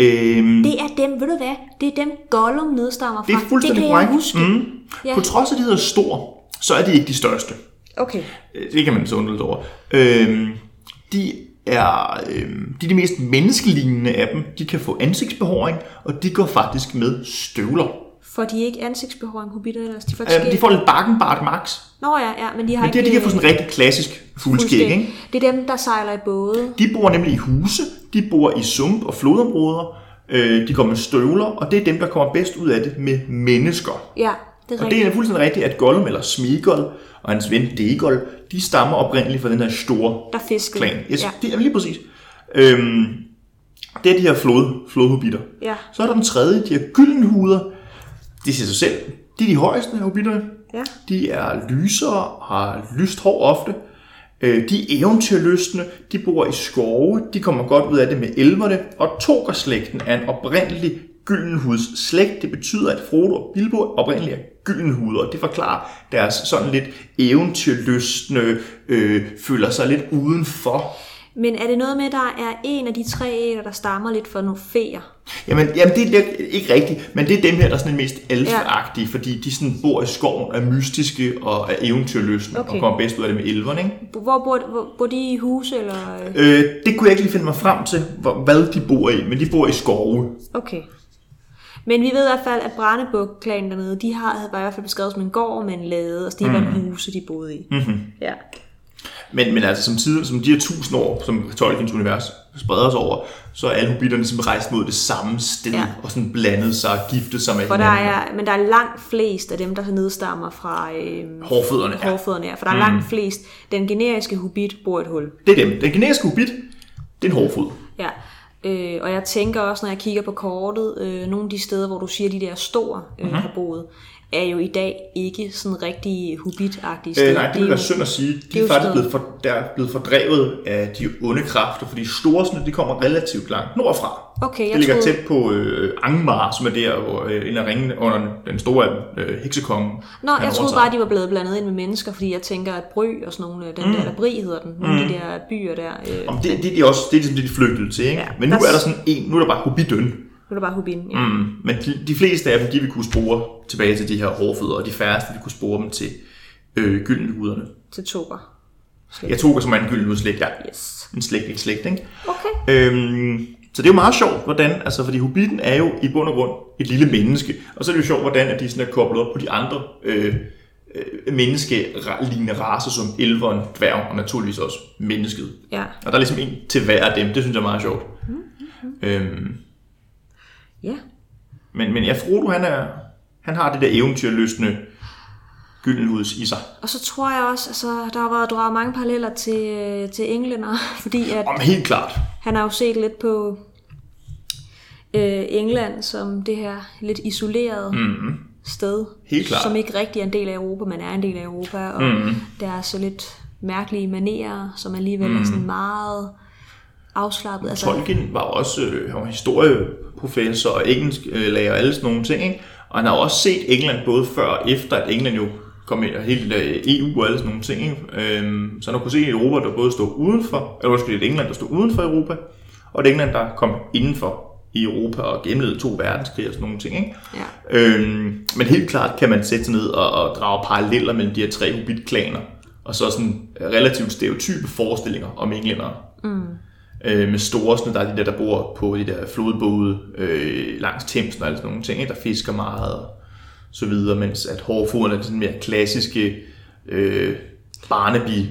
S2: Øhm,
S1: Det er dem, ved du hvad? Det er dem, Gollum nedstammer fra.
S2: det er fuldstændig
S1: det kan jeg
S2: korrekt.
S1: huske.
S2: Mm.
S1: Ja.
S2: På trods af, at de hedder stor, så er de ikke de største.
S1: Okay,
S2: Øh, Det kan man så undre lidt over. Øhm, de, er, øhm, de er de mest menneskelignende af dem. De kan få ansigtsbehåring, og de går faktisk med støvler.
S1: får de ikke ansigtsbehåring, hobitter ellers? De får ikke
S2: Øhm,
S1: skæg?
S2: de får lidt bakkenbart max.
S1: Nå ja, ja, men de har
S2: Men
S1: ikke...
S2: det her, de kan få sådan en rigtig klassisk fuldskæg,
S1: fuldskæg.
S2: ikke?
S1: Det er dem, der sejler i både.
S2: De bor nemlig i huse, de bor i sump- og flodområder, øh, de går med støvler, og det er dem, der kommer bedst ud af det med mennesker.
S1: Ja, Det er
S2: Og det er
S1: rigtigt.
S2: fuldstændig rigtigt, at Gollum eller Smeagol og hans ven Degol, de stammer oprindeligt fra den her store
S1: Der fiskede.
S2: klan. Yes, ja.
S1: Ja.
S2: det er lige præcis. Øhm, det er de her flod, flodhobitter.
S1: Ja.
S2: Så er der den tredje, de her gyldenhuder. Det siger sig selv. De er de højeste af hobitterne.
S1: Ja.
S2: De er lysere, har lyst hår ofte. Øh, De er eventyrløsne, de bor i skove, de kommer godt ud af det med elverne, og Togerslægten er en oprindelig gyldenhuds slægt. Det betyder, at Frodo og Bilbo oprindeligt er gyldenhuder, og det forklarer deres sådan lidt eventyrløsne, øh, føler sig lidt udenfor.
S1: Men er det noget med, at der er en af de tre æder, der stammer lidt for nogle feer?
S2: Jamen, jamen det er lidt- ikke rigtigt, men det er dem her, der er sådan mest elfagtige, ja. fordi de sådan bor i skoven, er mystiske og er eventyrløsne, okay. og
S1: Okay.
S2: kommer bedst ud af det med elverne, ikke?
S1: Hvor bor, hvor, bor de i huse, eller... øh,
S2: Øh, det kunne jeg ikke lige finde mig frem til, hvor, hvad de bor i, men de bor i skove.
S1: Okay. Men vi ved i hvert fald, at Brandebuk-klanen dernede, de har, havde bare i hvert fald beskrevet som en gård med en lade, og det var mm. huse, de boede i. Mm-hmm. Ja.
S2: Men, men altså, som, tid, som de her tusind år, som Tolkiens univers spreder sig over, så er alle hobitterne som rejst mod det samme sted, ja.
S1: Ja.
S2: og sådan blandet sig og giftet sig med
S1: For der
S2: hinanden.
S1: er, men der er langt flest af dem, der nedstammer fra øh,
S2: Hårfødderne, ja. Mm.
S1: hårfødderne her. For der er langt flest. Den generiske hobbit bor i et hul.
S2: Det er dem. Den kinesiske hobbit, det er en hårfod.
S1: Ja. Øh, og jeg tænker også, når jeg kigger på kortet, øh, nogle af de steder, hvor du siger, de der store øh,
S2: Mhm.
S1: mm-hmm. har boet, er jo i dag ikke sådan rigtig hobbit-agtige steder.
S2: Øh, nej, det
S1: er
S2: ville være
S1: jo-
S2: synd at sige. De
S1: er
S2: er,
S1: jo
S2: faktisk
S1: stedet.
S2: blevet, for, der er blevet fordrevet af de onde kræfter, fordi storsene, de kommer relativt langt nordfra.
S1: Okay, jeg
S2: det ligger
S1: troede-
S2: tæt på øh, Angmar, som er der, hvor øh, en af ringene under den store øh, heksekonge.
S1: Nå,
S2: han
S1: jeg troede
S2: overtager.
S1: bare, de var blevet blandet ind med mennesker, fordi jeg tænker, at Bry og sådan nogle, øh, den mm. der, eller Bri hedder den, nogle mm. af de der byer der, øh,
S2: Om det, det, er de også, det er ligesom det, de flygtede til, ikke? Ja,
S1: Ja,
S2: men nu
S1: der-
S2: er der sådan en, nu er der bare hobidøn.
S1: nu er det bare Hubin. Ja. Mm.
S2: Mm. Men de, de, fleste af dem, de vil kunne spore tilbage til de her hårfødder, og de færreste vil kunne spore dem til øh, gyldenhuderne.
S1: Til Tober.
S2: Jeg tog som er en gyldenhudslægt, ja.
S1: Yes.
S2: En slægt, ikke slægt, ikke?
S1: Okay.
S2: Øhm, så det er jo meget sjovt, hvordan, altså fordi hobitten er jo i bund og grund et lille menneske, og så er det jo sjovt, hvordan at de sådan er koblet op på de andre øh, øh, menneskelignende raser, som elveren, dværgen og naturligvis også mennesket.
S1: Ja.
S2: Og der er ligesom en til hver af dem, det synes jeg er meget sjovt. Øhm,
S1: Ja.
S2: men, men ja, Frodo, han, er, han har det der eventyrløsne gyldenhuds i sig.
S1: Og så tror jeg også, altså, der har været draget mange paralleller til, øh, til englænder, fordi at
S2: Om helt klart.
S1: han har jo set lidt på øh, England som det her lidt isolerede mm. sted,
S2: Mhm. Helt klart. Mhm.
S1: som ikke rigtig er en del af Europa, men er en del af Europa, og mm. der er så lidt mærkelige manerer, som alligevel mm.
S2: Mhm.
S1: er sådan meget afslappet. Altså,
S2: Tolkien var også øh, han var historieprofessor og engelsk øh, lærer og alle sådan nogle ting, ikke? Og han har jo også set England både før og efter, at England jo kom ind og hele øh, EU og alle sådan nogle ting, ikke? Øhm, så han har kunne se et Europa, der både stod udenfor, eller måske et England, der stod uden for Europa, og et England, der kom indenfor i Europa og gennemlevede to verdenskrige og sådan nogle ting, ikke?
S1: ja.
S2: Øhm, men helt klart kan man sætte sig ned og, og drage paralleller mellem de her tre hobbit-klaner, og så sådan relativt stereotype forestillinger om englændere. Mm. Øh, med storesne, der er de der, der bor på de der flodbåde øh, langs Thamesen og alle sådan nogle ting, ikke? der fisker meget og så videre, mens at hårfoderne er sådan mere klassiske øh, barnaby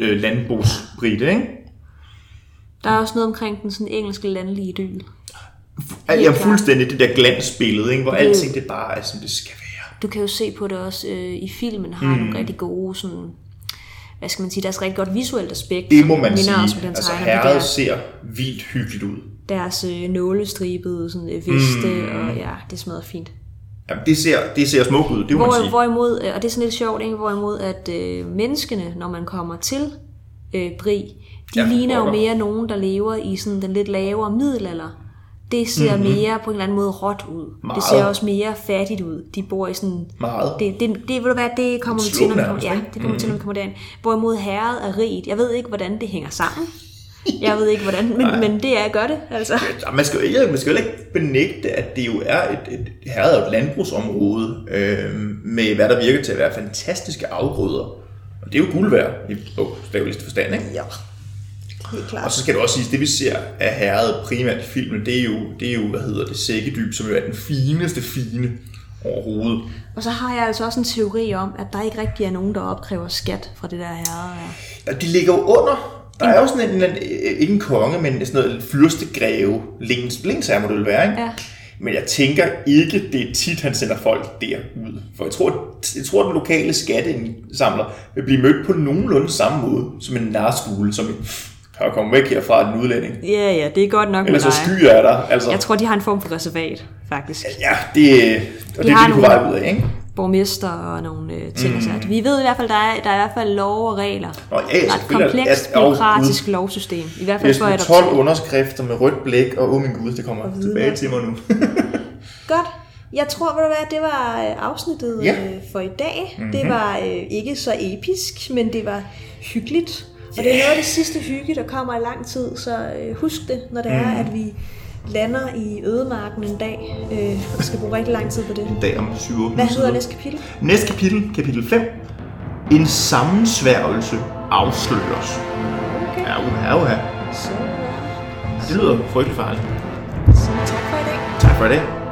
S2: øh, landbrugsbrite, ikke?
S1: Der er også noget omkring den sådan engelske landlige idyl.
S2: Jeg
S1: Helt
S2: er
S1: klart.
S2: fuldstændig det der glansbillede, ikke? hvor alting det bare er, som det skal være.
S1: Du kan jo se på det også øh, i filmen, har mm. nogle rigtig gode sådan, hvad skal man sige, der er et rigtig godt visuelt aspekt.
S2: Det
S1: som
S2: må man
S1: minder
S2: sige.
S1: Også, om den
S2: Altså
S1: tegner, de
S2: herret
S1: der-
S2: ser vildt hyggeligt ud.
S1: deres øh, nålestribede sådan, øh, veste, mm. og ja, det smadrer fint.
S2: Jamen, det ser, det ser smukt ud, det må man
S1: Hvor,
S2: sige.
S1: hvorimod, øh, og det er sådan lidt sjovt, ikke? hvorimod at øh, menneskene, når man kommer til øh, Bri, de
S2: Ja,
S1: ja, ligner jo
S2: pokker.
S1: mere nogen, der lever i sådan den lidt lavere middelalder. Det ser mm-hmm. mere på en eller anden måde råt ud.
S2: Meget.
S1: Det ser også mere fattigt ud. De bor i sådan...
S2: Meget.
S1: Det, det, det vil du være, det kommer vi til,
S2: slum
S1: når vi kommer,
S2: nærmest,
S1: ja,
S2: ikke?
S1: det kommer vi til, når vi kommer derind. Hvorimod herret er rigt. Jeg ved ikke, hvordan det hænger sammen. Jeg ved ikke, hvordan, men, men det er, gør det, altså.
S2: Ja, Man skal, jo ikke, man skal jo heller ikke benægte, at det jo er et, et herret og et landbrugsområde øh, med hvad der virker til at være fantastiske afgrøder. Og det er jo guld værd i bogstaveligste forstand, ikke? Ja.
S1: Helt klart.
S2: Og så skal det også sige, at det vi ser af herret primært i filmen, det er jo, det er jo hvad hedder det, sækkedyb, som jo er den fineste fine overhovedet.
S1: Og så har jeg altså også en teori om, at der ikke rigtig er nogen, der opkræver skat fra det der herre. her.
S2: Ja, de ligger jo under. Der er jo øh, sådan en, en, en ikke en konge, men sådan noget fyrstegræve. Lens, lens er må det vel være, ikke?
S1: Ja.
S2: Men jeg tænker ikke, det er tit, han sender folk derud. For jeg tror, jeg tror den lokale skatteindsamler vil blive mødt på nogenlunde samme måde som en narskule, som en, kan komme væk herfra en udlænding.
S1: Ja, ja, det er godt nok
S2: Ellers så
S1: med dig.
S2: skyer jeg dig. Altså,
S1: Jeg tror, de har en form for reservat, faktisk.
S2: ja, det, og det er
S1: har
S2: det, vi er på
S1: nogle-
S2: vej ud af, ikke?
S1: Borgmester og nogle øh, ting mm. og sager. Vi ved i hvert fald, der er, der er i hvert fald lov og regler.
S2: Nå, ja,
S1: Der
S2: ja,
S1: er et
S2: selvfølgelig er der-
S1: komplekst,
S2: ja, åh, Gud.
S1: byråkratisk lovsystem. I hvert fald for
S2: Næsten
S1: at
S2: 12 underskrifter med rødt blæk, og åh min gud, det kommer
S1: videre.
S2: tilbage til mig nu.
S1: Godt. Jeg tror, ved du hvad, det var øh, afsnittet
S2: Ja. Mhm.
S1: øh, for i dag. Mm-hmm. Det var øh, ikke så episk, men det var hyggeligt. Og det er noget af det sidste hygge, der kommer i lang tid, så øh, husk det, når det mm.
S2: Mhm.
S1: er, at vi lander i ødemarken en dag. Øh, vi skal bruge rigtig lang tid på det.
S2: en dag om 7
S1: Hvad hedder næste kapitel?
S2: Næste kapitel, kapitel 5. En sammensværgelse afsløres.
S1: Okay,
S2: Ja, uha, uha.
S1: så, øh,
S2: Det lyder frygtelig farligt.
S1: så tak for i dag.
S2: Tak for i dag.